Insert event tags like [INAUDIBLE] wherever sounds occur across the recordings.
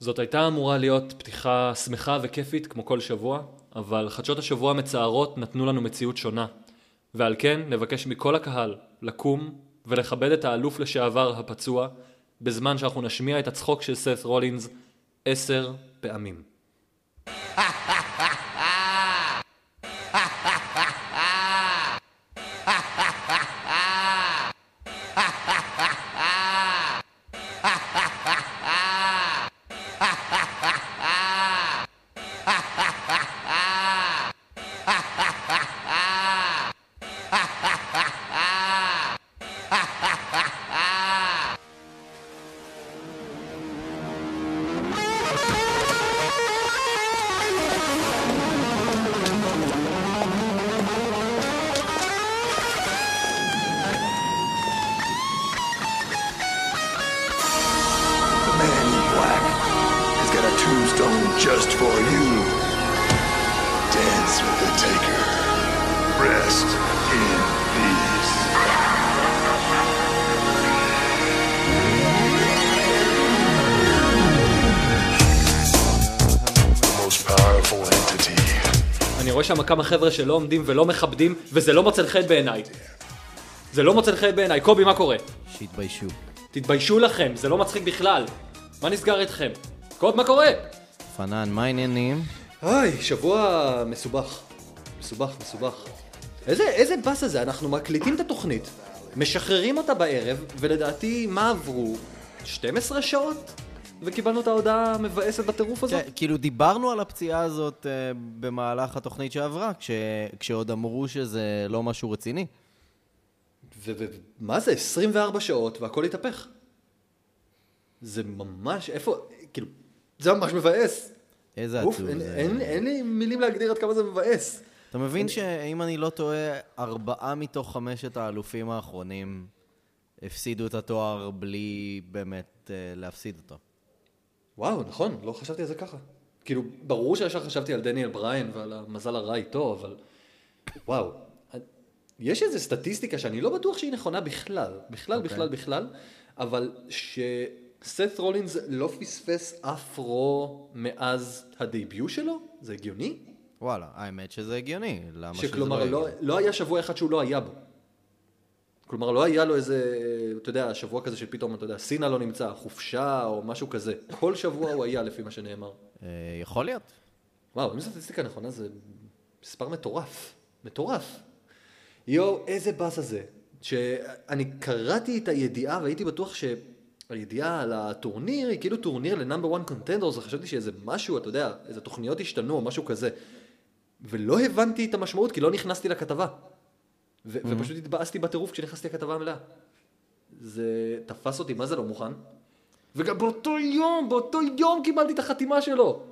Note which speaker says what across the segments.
Speaker 1: זאת הייתה אמורה להיות פתיחה שמחה וכיפית כמו כל שבוע, אבל חדשות השבוע המצערות נתנו לנו מציאות שונה. ועל כן נבקש מכל הקהל לקום ולכבד את האלוף לשעבר הפצוע, בזמן שאנחנו נשמיע את הצחוק של סת' רולינס עשר פעמים.
Speaker 2: The man in black has got a tombstone just for you. Dance with the taker. Rest in peace. The most powerful entity
Speaker 1: אני רואה שם כמה חבר'ה שלא עומדים ולא מכבדים, וזה לא מוצא חן בעיניי. זה לא מוצא חן בעיניי. קובי, מה קורה?
Speaker 3: שהתביישו.
Speaker 1: תתביישו לכם, זה לא מצחיק בכלל. מה נסגר איתכם? קובי, מה קורה?
Speaker 3: פנן, מה העניינים?
Speaker 4: היי, שבוע מסובך. מסובך, מסובך. איזה, איזה באסה זה, אנחנו מקליטים את התוכנית, משחררים אותה בערב, ולדעתי, מה עברו? 12 שעות? וקיבלנו את ההודעה המבאסת בטירוף הזאת?
Speaker 3: כן, כאילו דיברנו על הפציעה הזאת אה, במהלך התוכנית שעברה, כש... כשעוד אמרו שזה לא משהו רציני.
Speaker 4: ומה זה, 24 שעות והכל התהפך. זה ממש, איפה, כאילו, זה ממש מבאס.
Speaker 3: איזה
Speaker 4: אוף,
Speaker 3: עצוב
Speaker 4: אין,
Speaker 3: זה.
Speaker 4: אין, אין לי מילים להגדיר עד כמה זה מבאס.
Speaker 3: אתה מבין שאם אני לא טועה, ארבעה מתוך חמשת האלופים האחרונים הפסידו את התואר בלי באמת אה, להפסיד אותו.
Speaker 4: וואו, נכון, לא חשבתי על זה ככה. כאילו, ברור שישר חשבתי על דניאל בריין ועל המזל הרע איתו, אבל... וואו. יש איזו סטטיסטיקה שאני לא בטוח שהיא נכונה בכלל, בכלל,
Speaker 3: אוקיי.
Speaker 4: okay. בכלל, בכלל, אבל שסת רולינס לא פספס אף רו מאז הדייביוט שלו? זה הגיוני?
Speaker 3: וואלה, האמת שזה הגיוני. למה שזה
Speaker 4: שכלומר,
Speaker 3: לא
Speaker 4: לא,
Speaker 3: הגיוני?
Speaker 4: לא היה שבוע אחד שהוא לא היה בו. כלומר, לא היה לו איזה, אתה יודע, שבוע כזה שפתאום, אתה יודע, סינה לא נמצא, חופשה או משהו כזה. כל שבוע הוא היה, לפי מה שנאמר.
Speaker 3: אה, יכול להיות.
Speaker 4: וואו, אם זו סטטיסטיקה נכונה זה מספר מטורף. מטורף. יואו, איזה באסה זה. שאני קראתי את הידיעה והייתי בטוח שהידיעה על הטורניר היא כאילו טורניר לנאמבר 1 קונטנדרס, וחשבתי שאיזה משהו, אתה יודע, איזה תוכניות השתנו או משהו כזה. ולא הבנתי את המשמעות כי לא נכנסתי לכתבה. ו- ופשוט התבאסתי בטירוף כשנכנסתי לכתבה המלאה. זה תפס אותי, מה זה לא מוכן? וגם באותו יום, באותו יום קיבלתי את החתימה שלו.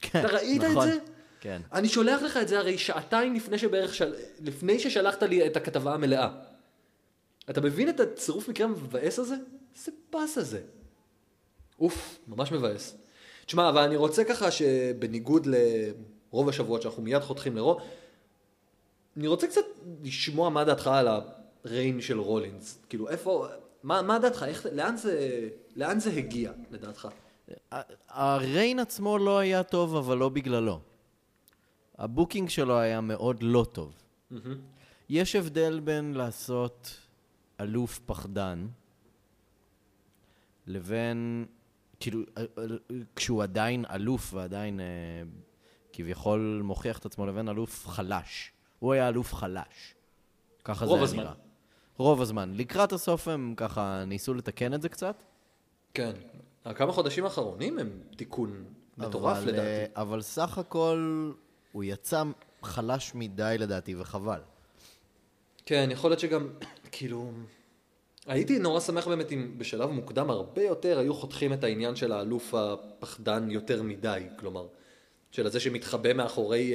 Speaker 3: כן,
Speaker 4: אתה ראית את
Speaker 3: נכון.
Speaker 4: זה?
Speaker 3: כן.
Speaker 4: אני שולח לך את זה הרי שעתיים לפני שבערך, של... לפני ששלחת לי את הכתבה המלאה. אתה מבין את הצירוף מקרה המבאס הזה? איזה באסה זה. אוף, ממש מבאס. תשמע, אבל אני רוצה ככה שבניגוד לרוב השבועות שאנחנו מיד חותכים לרו, אני רוצה קצת לשמוע מה דעתך על הריין של רולינס. כאילו, איפה, מה, מה דעתך? איך, לאן, זה, לאן זה הגיע, לדעתך?
Speaker 3: ה- הריין עצמו לא היה טוב, אבל לא בגללו. הבוקינג שלו היה מאוד לא טוב.
Speaker 1: Mm-hmm.
Speaker 3: יש הבדל בין לעשות אלוף פחדן, לבין, כאילו, אה, אה, כשהוא עדיין אלוף ועדיין אה, כביכול מוכיח את עצמו, לבין אלוף חלש. הוא היה אלוף חלש. ככה זה
Speaker 1: רוב
Speaker 3: היה
Speaker 1: הזמן.
Speaker 3: נראה. רוב הזמן. לקראת הסוף הם ככה ניסו לתקן את זה קצת.
Speaker 4: כן. הכמה חודשים האחרונים הם תיקון מטורף
Speaker 3: אבל, אה,
Speaker 4: לדעתי.
Speaker 3: אבל סך הכל הוא יצא חלש מדי לדעתי, וחבל.
Speaker 4: כן, יכול להיות שגם, כאילו... הייתי נורא שמח באמת אם בשלב מוקדם הרבה יותר היו חותכים את העניין של האלוף הפחדן יותר מדי, כלומר, של הזה שמתחבא מאחורי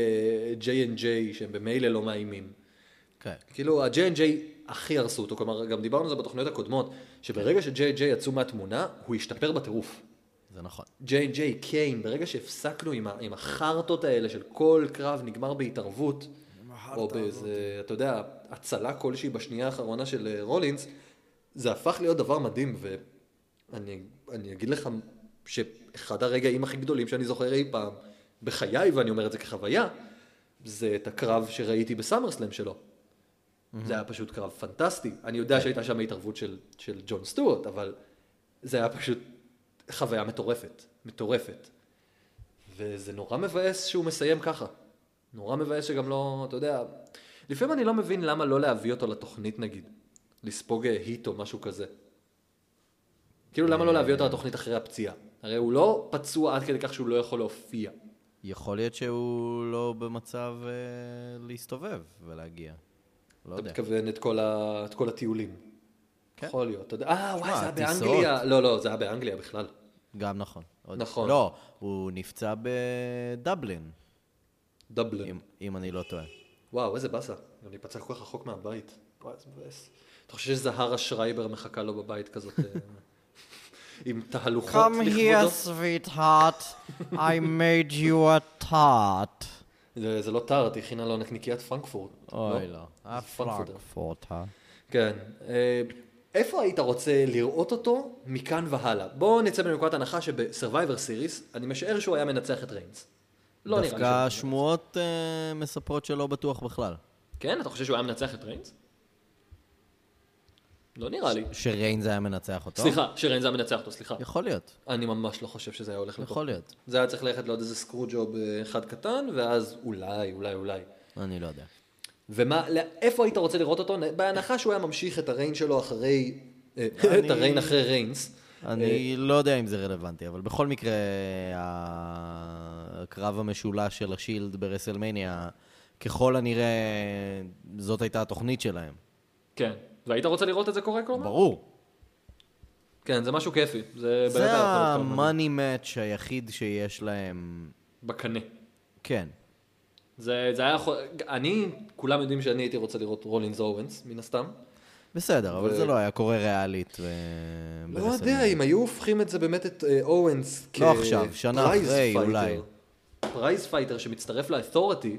Speaker 4: uh, J&J, שהם במילא לא מאיימים.
Speaker 3: כן.
Speaker 4: כאילו, ה-J&J הכי הרסו אותו, כלומר, גם דיברנו על זה בתוכניות הקודמות, שברגע ש-J&J יצאו מהתמונה, הוא השתפר בטירוף.
Speaker 3: זה נכון.
Speaker 4: J&J קיין, ברגע שהפסקנו עם, ה- עם החרטות האלה של כל קרב נגמר בהתערבות, או באיזה, אתה יודע, הצלה כלשהי בשנייה האחרונה של אה, רולינס, זה הפך להיות דבר מדהים, ואני אני אגיד לך ש... אחד הרגעים הכי גדולים שאני זוכר אי פעם בחיי, ואני אומר את זה כחוויה, זה את הקרב שראיתי בסאמרסלאם שלו. זה היה פשוט קרב פנטסטי. אני יודע שהייתה שם התערבות של, של ג'ון סטוארט, אבל זה היה פשוט חוויה מטורפת, מטורפת. וזה נורא מבאס שהוא מסיים ככה. נורא מבאס שגם לא, אתה יודע, לפעמים אני לא מבין למה לא להביא אותו לתוכנית נגיד. לספוג אה, היט או משהו כזה. כאילו למה לא להביא אותו לתוכנית אחרי הפציעה? הרי הוא לא פצוע עד כדי כך שהוא לא יכול להופיע.
Speaker 3: יכול להיות שהוא לא במצב אה, להסתובב ולהגיע. לא
Speaker 4: אתה
Speaker 3: יודע.
Speaker 4: מתכוון את כל, ה... את כל הטיולים.
Speaker 3: כן.
Speaker 4: יכול להיות, אתה יודע. אה, וואי, זה היה
Speaker 3: הטיסות.
Speaker 4: באנגליה. לא, לא, זה היה באנגליה בכלל.
Speaker 3: גם נכון. עוד-
Speaker 4: נכון.
Speaker 3: לא, הוא נפצע בדבלין,
Speaker 4: דבלן.
Speaker 3: אם- אם אני לא טועה.
Speaker 4: וואו, איזה באסה. גם להיפצע כל כך רחוק מהבית. וואי, זה מבאס. אתה חושב שזהרה שרייבר מחכה לו בבית כזאת, אה, עם תהלוכות
Speaker 3: Come here,
Speaker 4: לכבודו?
Speaker 3: sweetheart, I made you a tart.
Speaker 4: זה זה לא טארט, היא הכינה לו נקניקיית פרנקפורט.
Speaker 3: אוי
Speaker 4: לא.
Speaker 3: לא.
Speaker 4: זה פרנקפורטר.
Speaker 3: הפרנקפורט, אה?
Speaker 4: כן. אה, איפה היית רוצה לראות אותו מכאן והלאה? בואו נצא מנקודת הנחה שבסרווייבר סיריס, אני משער שהוא היה מנצח את ריינס. לא נראה לי שהוא...
Speaker 3: דווקא שמועות אה, מספרות שלא בטוח בכלל.
Speaker 4: כן? אתה חושב שהוא היה מנצח את ריינס? לא נראה לי.
Speaker 3: שריינז היה מנצח אותו?
Speaker 4: סליחה, שריינס היה מנצח אותו, סליחה.
Speaker 3: יכול להיות,
Speaker 4: אני ממש לא חושב שזה היה הולך לפה.
Speaker 3: יכול להיות.
Speaker 4: זה היה צריך ללכת לעוד איזה סקרוג'וב אה, אחד קטן, ואז אולי, אולי, אולי.
Speaker 3: אני לא יודע.
Speaker 4: ומה, לא- איפה היית רוצה לראות אותו? נ- בהנחה שהוא היה ממשיך את הריין שלו אחרי... [LAUGHS] אה, את הריין אחרי ריינס. אה,
Speaker 3: אני לא יודע אם זה רלוונטי, אבל בכל מקרה, ה- הקרב המשולש של השילד ברסלמניה, ככל הנראה, זאת הייתה התוכנית שלהם.
Speaker 1: כן. והיית רוצה לראות את זה קורה כלומר?
Speaker 3: ברור.
Speaker 4: כן, זה משהו כיפי. זה באמת
Speaker 3: זה
Speaker 4: היה יכול להיות כמה
Speaker 3: המאני מאץ' היחיד שיש להם,
Speaker 1: בקנה.
Speaker 3: כן.
Speaker 4: זה, זה היה יכול... אני, כולם יודעים שאני הייתי רוצה לראות רולינס אורנס, מן הסתם.
Speaker 3: בסדר, אבל
Speaker 4: ו-
Speaker 3: זה לא היה קורה ריאלית ו...
Speaker 4: לא
Speaker 3: ברסלמניה.
Speaker 4: יודע, אם היו הופכים את זה באמת את אה, אורנס
Speaker 3: לא עכשיו, שנה
Speaker 4: פרייז
Speaker 3: אחרי,
Speaker 4: פייטר,
Speaker 3: אולי.
Speaker 4: פרייז פייטר שמצטרף לאתורטי,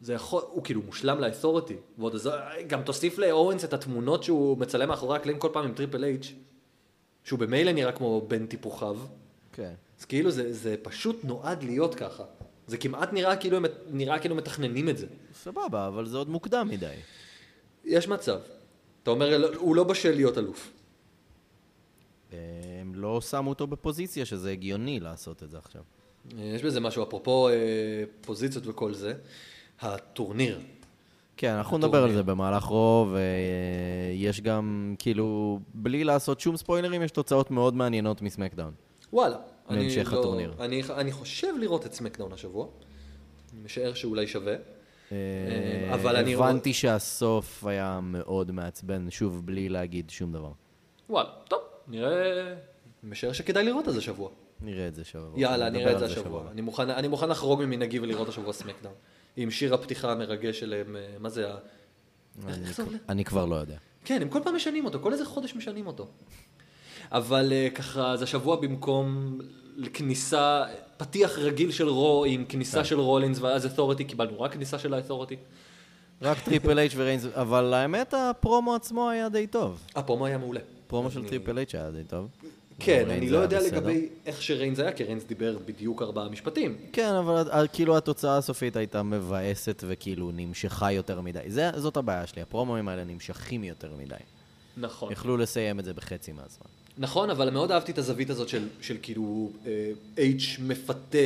Speaker 4: זה יכול, הוא כאילו מושלם לאתורטי. ועוד אז, גם תוסיף לאורנס את התמונות שהוא מצלם מאחורי הקלעים כל פעם עם טריפל אייץ', שהוא במילא נראה כמו בן טיפוחיו.
Speaker 3: כן.
Speaker 4: אז כאילו זה, זה פשוט נועד להיות ככה. זה כמעט נראה כאילו הם נראה כאילו הם מתכננים את זה.
Speaker 3: סבבה, אבל זה עוד מוקדם מדי.
Speaker 4: יש מצב. אתה אומר, "לא, הוא לא בשל להיות אלוף.
Speaker 3: הם לא שמו אותו בפוזיציה שזה הגיוני לעשות את זה עכשיו.
Speaker 4: יש בזה משהו, אפרופו אה, פוזיציות וכל זה, הטורניר.
Speaker 3: כן, אנחנו
Speaker 4: הטורניר.
Speaker 3: נדבר על זה במהלך רוב, ויש גם, כאילו, בלי לעשות שום ספוילרים, יש תוצאות מאוד מעניינות מסמקדאון.
Speaker 4: וואלה.
Speaker 3: להמשך
Speaker 4: אני לא-
Speaker 3: הטורניר.
Speaker 4: אני, אני חושב לראות את סמקדאון השבוע. אני משער שאולי שווה.
Speaker 3: אה,
Speaker 4: כן, אבל אני רוא-
Speaker 3: הבנתי שהסוף היה מאוד מעצבן, שוב, בלי להגיד שום דבר.
Speaker 1: וואלה, טוב, נראה...
Speaker 4: אני משער שכדאי לראות את זה השבוע.
Speaker 3: נראה את זה שבוע.
Speaker 4: יאללה,
Speaker 3: אוקיי, נדבר
Speaker 4: נראה את
Speaker 3: על
Speaker 4: זה השבוע. אני מוכן, אני מוכן לחרוג ממנהגי ולראות השבוע סמקדאון. עם שיר הפתיחה המרגש שלהם, אה, מה זה ה...
Speaker 3: אני-
Speaker 4: איך זה הולך?
Speaker 3: אני כבר לא יודע.
Speaker 4: כן, הם כל פעם משנים אותו, כל איזה חודש משנים אותו. אבל אה, ככה, זה השבוע במקום כניסה, פתיח רגיל של רו עם
Speaker 3: כן.
Speaker 4: כניסה של רולינס ואז אתורטי, קיבלנו רק כניסה של האתורטי.
Speaker 3: רק טריפל אייץ' וריינס, אבל האמת, הפרומו עצמו היה די טוב.
Speaker 4: הפרומו אה, היה מעולה.
Speaker 3: פרומו של טריפל אייץ' היה די טוב.
Speaker 4: כן,
Speaker 3: וריינס
Speaker 4: אני לא
Speaker 3: היה
Speaker 4: יודע
Speaker 3: בסדר.
Speaker 4: לגבי איך שריינס היה, כי ריינס דיבר בדיוק ארבעה משפטים.
Speaker 3: כן, אבל אה, כאילו התוצאה הסופית הייתה מבאסת וכאילו נמשכה יותר מדי. זה, זאת הבעיה שלי, הפרומואים האלה נמשכים יותר מדי.
Speaker 4: אוקיי.
Speaker 1: נכון.
Speaker 3: יכלו לסיים את זה בחצי מהזמן.
Speaker 4: נכון, אבל מאוד אהבתי את הזווית הזאת של, של כאילו אה, אייץ' מפתה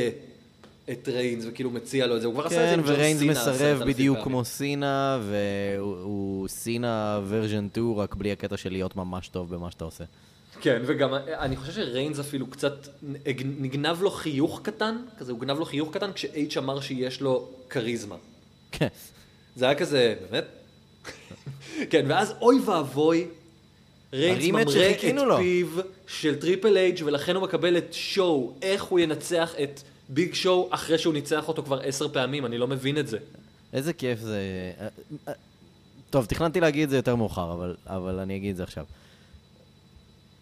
Speaker 4: את ריינס וכאילו מציע לו את זה, הוא כבר עשה את זה
Speaker 3: כן,
Speaker 4: עם ג'ון
Speaker 3: וריינס
Speaker 4: סינה
Speaker 3: מסרב
Speaker 4: 10,000
Speaker 3: בדיוק
Speaker 4: פעמים.
Speaker 3: כמו סינה, והוא הוא סינה ורז'ן 2, רק בלי הקטע של להיות ממש טוב במה שאתה עושה.
Speaker 4: כן, וגם אני חושב שריינס אפילו קצת, נגנב לו חיוך קטן, כזה הוא גנב לו חיוך קטן כשאייץ' אמר שיש לו כריזמה.
Speaker 3: כן.
Speaker 4: זה היה כזה, באמת? [LAUGHS] כן, ואז אוי ואבוי, ריינס
Speaker 3: הרימץ'
Speaker 4: ממרה את
Speaker 3: שחיכינו לו.
Speaker 4: פיו של טריפל אייג' ולכן הוא מקבל את שואו, איך הוא ינצח את ביג שואו אחרי שהוא ניצח אותו כבר עשר פעמים, אני לא מבין את זה.
Speaker 3: איזה כיף זה... אה, אה, טוב, תכננתי להגיד את זה יותר מאוחר, אבל, אבל אני אגיד את זה עכשיו.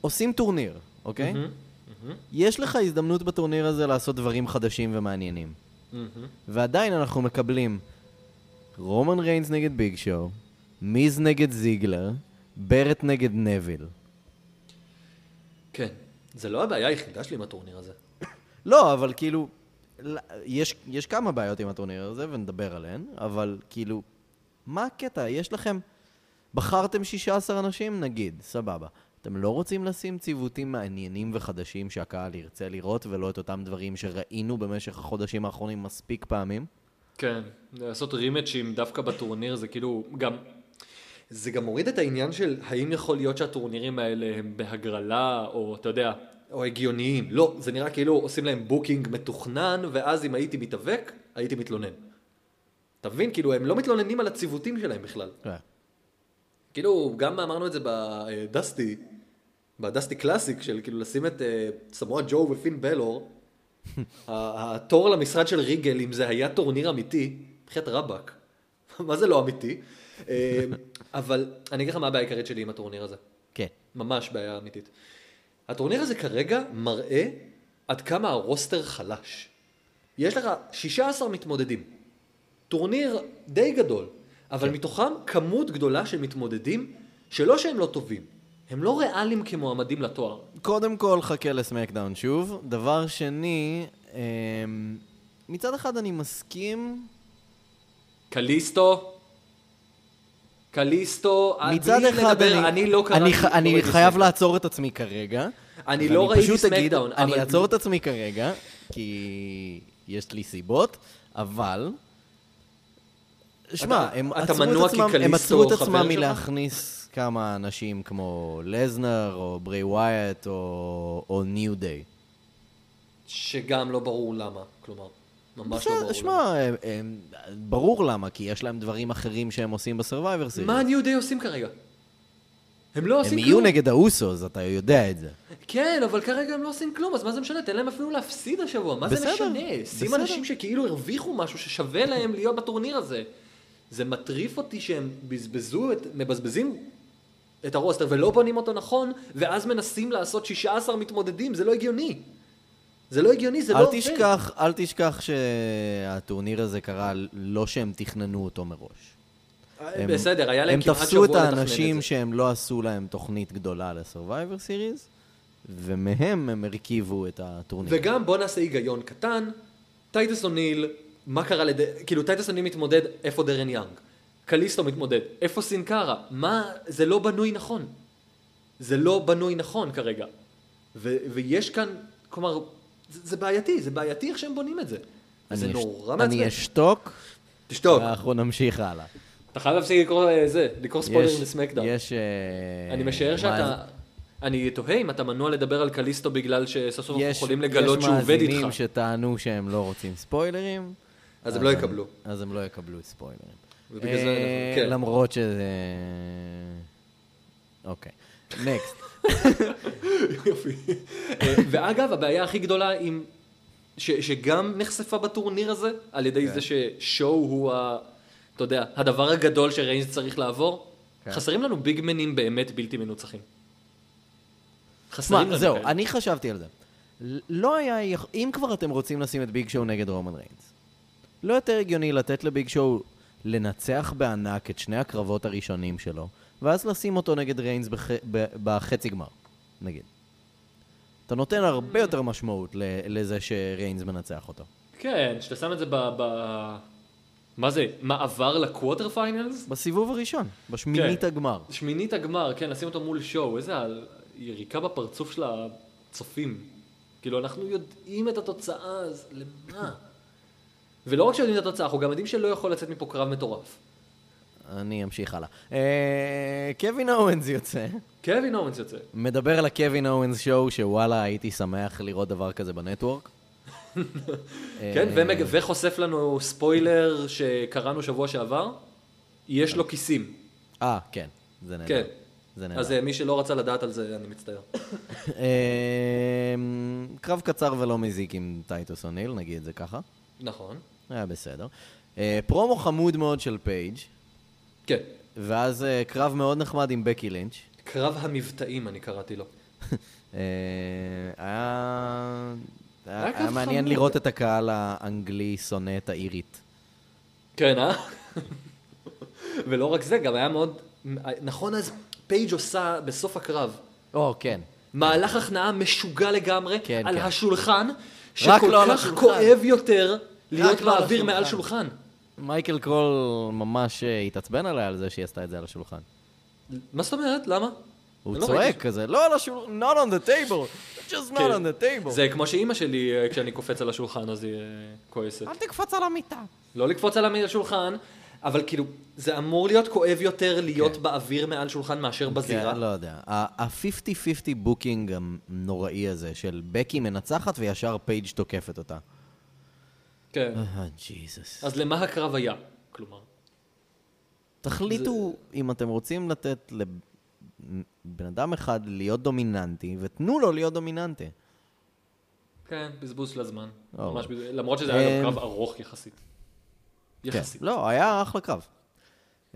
Speaker 3: עושים טורניר, אוקיי? יש לך הזדמנות בטורניר הזה לעשות דברים חדשים ומעניינים. ועדיין אנחנו מקבלים רומן ריינס נגד ביג שואו, מיז נגד זיגלר, ברט נגד נביל.
Speaker 4: כן. זה לא הבעיה היחידה שלי עם הטורניר הזה.
Speaker 3: לא, אבל כאילו, ל- יש, יש כמה בעיות עם הטורניר הזה, ונדבר עליהן, אבל כאילו, מה הקטע? יש לכם, בחרתם 16 אנשים, נגיד, סבבה. אתם לא רוצים לשים ציוותים מעניינים וחדשים שהקהל ירצה לראות, ולא את אותם דברים שראינו במשך החודשים האחרונים מספיק פעמים?
Speaker 1: כן, לעשות רימג'ים דווקא בטורניר זה כאילו גם...
Speaker 4: זה גם מוריד את העניין של האם יכול להיות שהטורנירים האלה הם בהגרלה, או אתה יודע, או הגיוניים. לא, זה נראה כאילו עושים להם בוקינג מתוכנן, ואז אם הייתי מתאבק, הייתי מתלונן. אתה מבין? כאילו, הם לא מתלוננים על הציוותים שלהם בכלל. כאילו, גם אמרנו את זה בדסטי, בדסטי קלאסיק, של כאילו לשים את אה, סמואה ג'ו ופין בלור, ה- התור למשרד של ריגל, אם זה היה טורניר אמיתי, בחייאת רבאק, [LAUGHS] מה זה לא אמיתי? אה, אבל אני אגיד לך מה הבעיה העיקרית שלי עם הטורניר הזה.
Speaker 3: כן.
Speaker 4: ממש בעיה אמיתית. הטורניר הזה כרגע מראה עד כמה הרוסטר חלש. יש לך 16 מתמודדים. טורניר די גדול,
Speaker 1: כן.
Speaker 4: אבל מתוכם כמות גדולה של מתמודדים, שלא שהם לא טובים, הם לא ריאליים כמועמדים לתואר.
Speaker 3: קודם כל, חכה לסמקדאון שוב. דבר שני, אמ, מצד אחד אני מסכים
Speaker 1: קליסטו? קליסטו? אה,
Speaker 3: מצד
Speaker 1: בלי
Speaker 3: אחד
Speaker 1: לדבר,
Speaker 3: אני,
Speaker 1: אני לא קראתי...
Speaker 3: אני, ח- אני
Speaker 1: ראיתי
Speaker 3: חייב
Speaker 1: סמקדאון.
Speaker 3: לעצור את עצמי כרגע.
Speaker 1: אני
Speaker 3: ואני
Speaker 1: לא ראיתי
Speaker 3: פשוט אגיד-
Speaker 1: סמקדאון, אבל-
Speaker 3: אני אעצור את עצמי כרגע, כי יש לי סיבות, אבל... שמע,
Speaker 4: אתה-
Speaker 3: הם,
Speaker 4: אתה
Speaker 3: עצרו
Speaker 4: מנוע
Speaker 3: את
Speaker 4: כי
Speaker 3: עצמם- הם
Speaker 4: קליסטו
Speaker 3: עצרו את
Speaker 4: חבר
Speaker 3: עצמם
Speaker 4: שלך?
Speaker 3: מלהכניס כמה אנשים כמו לזנר, או ברי ווייט, או, או ניו דיי.
Speaker 4: שגם לא ברור למה, כלומר. ממש לא
Speaker 3: בסדר,
Speaker 4: ברור
Speaker 3: שמע, הם- הם- ברור למה, כי יש להם דברים אחרים שהם עושים בסרווייבר
Speaker 4: למה.
Speaker 3: סיריס.
Speaker 4: מה ניו דיי עושים כרגע? הם לא
Speaker 3: הם
Speaker 4: עושים
Speaker 3: יהיו
Speaker 4: כלום.
Speaker 3: נגד האוסוס, אתה יודע את זה.
Speaker 4: כן, אבל כרגע הם לא עושים כלום, אז מה זה משנה? תן להם אפילו להפסיד השבוע, מה זה
Speaker 3: בסדר,
Speaker 4: משנה? שים
Speaker 3: בסדר.
Speaker 4: אנשים שכאילו הרוויחו משהו ששווה להם להיות בטורניר הזה. זה מטריף אותי שהם בזבזו, את, מבזבזים את הרוסטר ולא בונים אותו נכון, ואז מנסים לעשות 16 מתמודדים, זה לא הגיוני. זה לא הגיוני, זה
Speaker 3: אל
Speaker 4: לא...
Speaker 3: תשכח, אל תשכח שהטורניר הזה קרה לא שהם תכננו אותו מראש.
Speaker 4: פייר.
Speaker 3: הם-
Speaker 4: אה, בסדר, היה להם
Speaker 3: הם
Speaker 4: כמעט
Speaker 3: תפסו
Speaker 4: שבוע
Speaker 3: את
Speaker 4: לתכנן את זה.
Speaker 3: האנשים שהם לא עשו להם תוכנית גדולה לסרווייבר סיריס, ומהם הם הרכיבו את הטורניר.
Speaker 4: וגם בוא נעשה היגיון קטן, טייטס אוניל, מה קרה לד... כאילו טייטס אוניל מתמודד, איפה דרן יאנג? קליסטו מתמודד, איפה סינקרה? מה, זה לא בנוי נכון. זה לא בנוי נכון כרגע. ו... ויש כאן, כלומר, זה, זה בעייתי, זה בעייתי איך שהם בונים את זה.
Speaker 3: אני
Speaker 4: זה
Speaker 3: אש-
Speaker 4: נורא מעצבן.
Speaker 3: אני אשתוק,
Speaker 4: תשתוק.
Speaker 3: ואנחנו נמשיך הלאה.
Speaker 1: אתה חייב להפסיק לקרוא אה, זה, לקרוא ספוילרים
Speaker 3: יש-
Speaker 1: לסמקדאון.
Speaker 3: יש... אה,
Speaker 1: אני משער
Speaker 3: מאזינים-
Speaker 1: שאתה... אני תוהה אם אתה מנוע לדבר על קליסטו בגלל שסוף סוף אנחנו
Speaker 3: יש-
Speaker 1: יכולים לגלות שהוא עובד
Speaker 3: יש מאזינים
Speaker 1: איתך.
Speaker 3: שטענו שהם לא רוצים ספוילרים.
Speaker 4: אז הם לא יקבלו.
Speaker 3: אז הם לא יקבלו ספוילרים.
Speaker 4: ובגלל זה
Speaker 3: אה,
Speaker 4: אנחנו- כן.
Speaker 3: למרות שזה... אוקיי. נקסט.
Speaker 4: יופי. אה, ואגב, הבעיה הכי גדולה עם... ש, שגם נחשפה בטורניר הזה, על ידי
Speaker 3: כן.
Speaker 4: זה ששואו הוא ה... אתה יודע, הדבר הגדול שריינס צריך לעבור,
Speaker 3: כן.
Speaker 1: חסרים לנו ביגמנים באמת בלתי מנוצחים.
Speaker 3: שמע,
Speaker 1: חסרים לנו
Speaker 3: זהו,
Speaker 1: כאלה.
Speaker 3: אני חשבתי על זה. ל- לא היה... יכ- אם כבר אתם רוצים לשים את ביג שואו נגד רומן ריינס, לא יותר הגיוני לתת לביג שואו לנצח בענק את שני הקרבות הראשונים שלו, ואז לשים אותו נגד ריינס בח... ב... בחצי גמר, נגיד. אתה נותן הרבה יותר משמעות ל... לזה שריינס מנצח אותו.
Speaker 1: כן, שאתה שם את זה ב... ב... מה זה? מעבר לקווטר פיינלס?
Speaker 3: בסיבוב הראשון, בשמינית
Speaker 1: כן.
Speaker 3: הגמר.
Speaker 1: שמינית הגמר, כן, לשים אותו מול שואו, איזה ה- יריקה בפרצוף של הצופים. כאילו, אנחנו יודעים את התוצאה, אז למה? [LAUGHS] ולא רק שיודעים את התוצאה, אנחנו גם יודעים שלא יכול לצאת מפה קרב מטורף.
Speaker 3: אני אמשיך הלאה. אה, קווין אורנס יוצא,
Speaker 1: קווין אורנס יוצא.
Speaker 3: מדבר על הקווין אורנס שואו, שוואלה, הייתי שמח לראות דבר כזה בנטוורק. אה.
Speaker 1: כן, ומג... וחושף לנו ספוילר שקראנו שבוע שעבר, יש לו כיסים.
Speaker 3: אה, כן, זה נהדר.
Speaker 1: כן.
Speaker 3: זה נהדר.
Speaker 1: אז אה, מי שלא רצה לדעת על זה, אני מצטער.
Speaker 3: אה, קרב קצר ולא מזיק עם טייטוס אוניל, נגיד את זה ככה.
Speaker 1: נכון.
Speaker 3: היה בסדר. אה, פרומו חמוד מאוד של פייג',
Speaker 1: כן.
Speaker 3: ואז אה, קרב מאוד נחמד עם בקי לינץ'.
Speaker 1: קרב המבטאים, אני קראתי לו.
Speaker 3: אה, היה...
Speaker 1: היה
Speaker 3: היה
Speaker 1: קרב
Speaker 3: מעניין
Speaker 1: חמוד.
Speaker 3: לראות את הקהל האנגלי שונא את האירית.
Speaker 1: כן, אה? ולא רק זה, גם היה מאוד... נכון, אז פייג' עושה בסוף הקרב.
Speaker 3: או, כן.
Speaker 4: מהלך הכנעה משוגע לגמרי,
Speaker 3: כן,
Speaker 4: על
Speaker 3: כן.
Speaker 4: השולחן,
Speaker 3: רק
Speaker 4: שכל
Speaker 3: לא על
Speaker 4: כך
Speaker 3: השולחן.
Speaker 4: כואב יותר להיות
Speaker 3: לא על
Speaker 4: באוויר מעל
Speaker 3: השולחן.
Speaker 4: שולחן.
Speaker 3: מייקל קרול ממש אה, התעצבן עליה על זה שהיא עשתה את זה על השולחן.
Speaker 4: מה זאת אומרת? למה? אני
Speaker 3: הוא
Speaker 4: לא
Speaker 3: צועק
Speaker 4: ראיתי.
Speaker 3: כזה, לא על השולחן, not on the table, just not
Speaker 4: כן.
Speaker 3: on the table.
Speaker 4: זה כמו שאימא שלי, אה, כשאני קופץ על השולחן, אז היא אה, כועסת.
Speaker 3: אל תקפוץ על המיטה.
Speaker 4: לא לקפוץ על המי- השולחן, אבל כאילו, זה אמור להיות כואב יותר להיות באוויר מעל שולחן מאשר בזירה.
Speaker 3: כן, לא יודע. ה-50-50 בוקינג הנוראי הזה של בקי מנצחת וישר פייג' תוקפת אותה.
Speaker 4: כן.
Speaker 3: אה, ג'יזוס.
Speaker 4: אז למה הקרב היה? כלומר,
Speaker 3: תחליטו אם אתם רוצים לתת לבן אדם אחד להיות דומיננטי, ותנו לו להיות דומיננטי.
Speaker 4: כן, בזבוז של הזמן.
Speaker 3: אוקיי.
Speaker 4: ממש בזבוז- למרות שזה היה גם
Speaker 3: אמ,
Speaker 4: קרב ארוך יחסית.
Speaker 3: כן.
Speaker 4: יחסית.
Speaker 3: לא, היה אחלה קרב.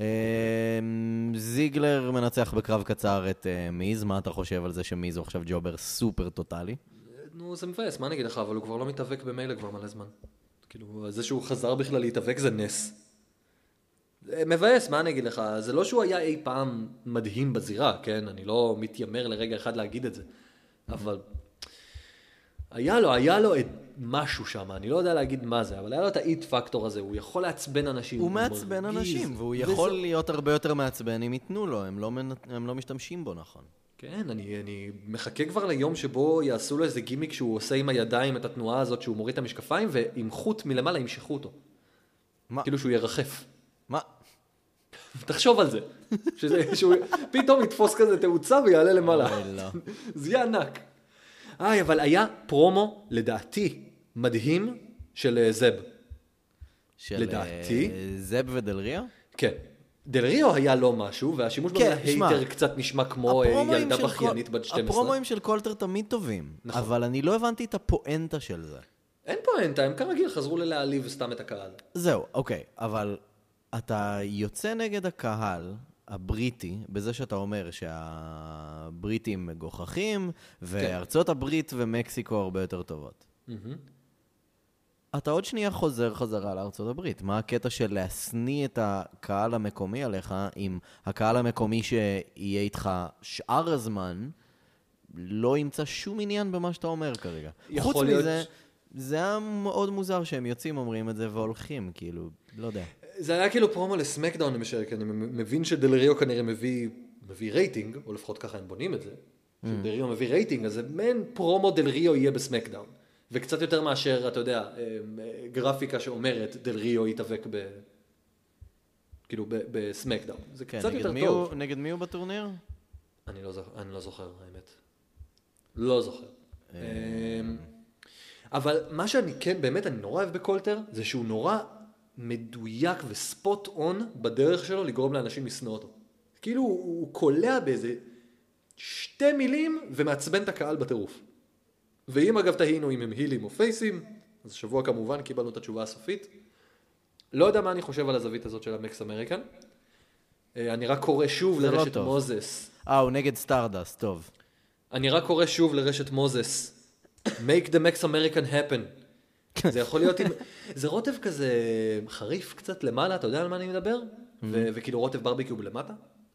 Speaker 3: אמ, זיגלר מנצח בקרב קצר את אה, מיז, מה אתה חושב על זה שמיז הוא עכשיו ג'ובר סופר טוטאלי?
Speaker 4: נו, זה מבאס, מה אני אגיד לך, אבל הוא כבר לא מתאבק במילא כבר מלא זמן. כאילו, זה שהוא חזר בכלל להתאבק זה נס. זה מבאס, מה אני אגיד לך? זה לא שהוא היה אי פעם מדהים בזירה, כן? אני לא מתיימר לרגע אחד להגיד את זה. אבל היה לו, היה לו את משהו שם, אני לא יודע להגיד מה זה, אבל היה לו את האיט פקטור הזה, הוא יכול לעצבן אנשים.
Speaker 3: הוא מעצבן
Speaker 4: מרגיז,
Speaker 3: אנשים, והוא
Speaker 4: וזה-
Speaker 3: יכול להיות הרבה יותר מעצבן אם ייתנו לו, הם לא מנ- הם לא משתמשים בו נכון.
Speaker 4: כן, אני, אני מחכה כבר ליום שבו יעשו לו איזה גימיק שהוא עושה עם הידיים את התנועה הזאת שהוא מוריד את המשקפיים ועם חוט מלמעלה ימשכו אותו.
Speaker 3: מה?
Speaker 4: כאילו שהוא ירחף. [LAUGHS]
Speaker 3: מה?
Speaker 4: תחשוב על זה. שזה, שהוא פתאום יתפוס כזה תאוצה ויעלה למעלה.
Speaker 3: אוי, לא.
Speaker 4: [LAUGHS] זה יהיה ענק. איי, אבל היה פרומו, לדעתי, מדהים של אה, זאב.
Speaker 3: של,
Speaker 4: לדעתי.
Speaker 3: אה, זאב ודלריה?
Speaker 4: כן. דל ריו היה לא משהו, והשימוש
Speaker 3: כן,
Speaker 4: במילה
Speaker 3: שמע,
Speaker 4: הייטר קצת נשמע כמו אה,
Speaker 3: הפרומואים
Speaker 4: ילדה
Speaker 3: של
Speaker 4: בכיינית
Speaker 3: קול-
Speaker 4: בת 12.
Speaker 3: הפרומואים של קולטר תמיד טובים,
Speaker 4: נכון.
Speaker 3: אבל אני לא הבנתי את הפואנטה של זה.
Speaker 4: אין פואנטה, הם כרגיל חזרו ללהעליב סתם את הקהל.
Speaker 3: זהו, אוקיי, אבל אתה יוצא נגד הקהל הבריטי, בזה שאתה אומר שהבריטים מגוחכים, וארצות הברית ומקסיקו הרבה יותר טובות. אתה עוד שנייה חוזר חזרה לארצות הברית. מה הקטע של להשניא את הקהל המקומי עליך, אם הקהל המקומי שיהיה איתך שאר הזמן, לא ימצא שום עניין במה שאתה אומר כרגע.
Speaker 4: יכול
Speaker 3: חוץ
Speaker 4: להיות-
Speaker 3: מזה, זה היה מאוד מוזר שהם יוצאים, אומרים את זה והולכים, כאילו, לא יודע.
Speaker 4: זה היה כאילו פרומו לסמקדאון למשל, כי אני מבין שדלריו כנראה מביא, מביא רייטינג, או לפחות ככה הם בונים את זה.
Speaker 3: Mm.
Speaker 4: שדלריו מביא רייטינג, אז זה מעין פרומו דלריו יהיה בסמקדאון. וקצת יותר מאשר, אתה יודע, אה, אה, גרפיקה שאומרת דלריו יתאבק ב... כאילו ב- בסמקדאון. זה
Speaker 3: כן,
Speaker 4: קצת
Speaker 3: נגד
Speaker 4: יותר
Speaker 3: מי
Speaker 4: טוב.
Speaker 3: הוא- נגד מי הוא בטורניר?
Speaker 4: אני לא, זוכ... אני לא זוכר, האמת. לא זוכר. אמ, אבל מה שאני כן, באמת, אני נורא אוהב בקולטר, זה שהוא נורא מדויק וספוט און בדרך שלו לגרום לאנשים לשנוא אותו. כאילו, הוא הוא קולע באיזה שתי מילים ומעצבן את הקהל בטירוף. ואם אגב תהינו אם הם הילים או פייסים, אז השבוע כמובן קיבלנו את התשובה הסופית. לא יודע מה אני חושב על הזווית הזאת של המקס אמריקן. אה, אני רק קורא שוב
Speaker 3: זה לא
Speaker 4: לרשת
Speaker 3: טוב.
Speaker 4: מוזס.
Speaker 3: אה, הוא נגד סטארדס, טוב.
Speaker 4: אני רק קורא שוב לרשת מוזס, make the max American happen. זה יכול להיות עם... זה רוטב כזה חריף קצת למעלה, אתה יודע על מה אני מדבר? ו- וכאילו רוטב ברביקיוב למטה?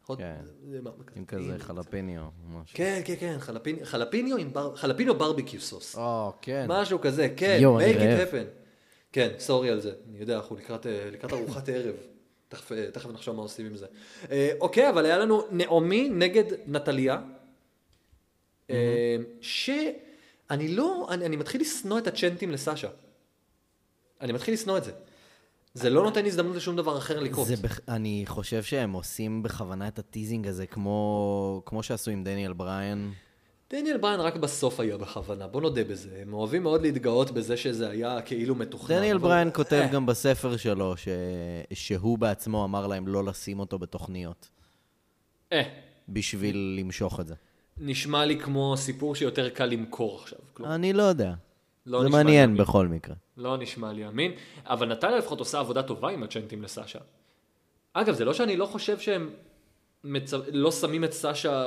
Speaker 4: רוט-
Speaker 3: Mm-hmm. כן.
Speaker 4: זה- זה מה-
Speaker 3: עם כזה חלפיניו, או משהו.
Speaker 4: כן, כן, כן, חלפיני- חלפיניו עם בר- חלפיניו ברביקיוב סוס.
Speaker 3: או, כן.
Speaker 4: משהו כזה, כן,
Speaker 3: יואו, אני
Speaker 4: make
Speaker 3: רעב.
Speaker 4: it happen. כן, סורי על זה, אני יודע, אנחנו לקראת, אה, לקראת ארוחת ערב. תכף, אה, תכף נחשוב מה עושים עם זה. אה, אוקיי, אבל היה לנו נעמי נגד נטליה, אה, שאני לא, אני, אני מתחיל לשנוא את הצ'נטים לסשה. אני מתחיל לשנוא את זה. זה לא נותן הזדמנות לשום דבר אחר לקרות.
Speaker 3: זה בכ... אני חושב שהם עושים בכוונה את הטיזינג הזה, כמו, כמו שעשו עם דניאל בריין.
Speaker 4: דניאל בריין רק בסוף היה בכוונה, בוא נודה בזה. הם אוהבים מאוד להתגאות בזה שזה היה כאילו מתוכנן.
Speaker 3: דניאל
Speaker 4: אבל-
Speaker 3: בריין כותב
Speaker 4: אה,
Speaker 3: גם בספר שלו ש... שהוא בעצמו אמר להם לא לשים אותו בתוכניות,
Speaker 4: אה,
Speaker 3: בשביל למשוך את זה.
Speaker 4: נשמע לי כמו סיפור שיותר קל למכור עכשיו. כלומר,
Speaker 3: אני לא יודע.
Speaker 4: לא
Speaker 3: זה
Speaker 4: נשמע לי
Speaker 3: מעניין
Speaker 4: אמין.
Speaker 3: בכל מקרה.
Speaker 4: לא נשמע לי אמין, אבל נתניה לפחות עושה עבודה טובה עם הצ'נטים לסשה. אגב, זה לא שאני לא חושב שהם מצ... לא שמים את סשה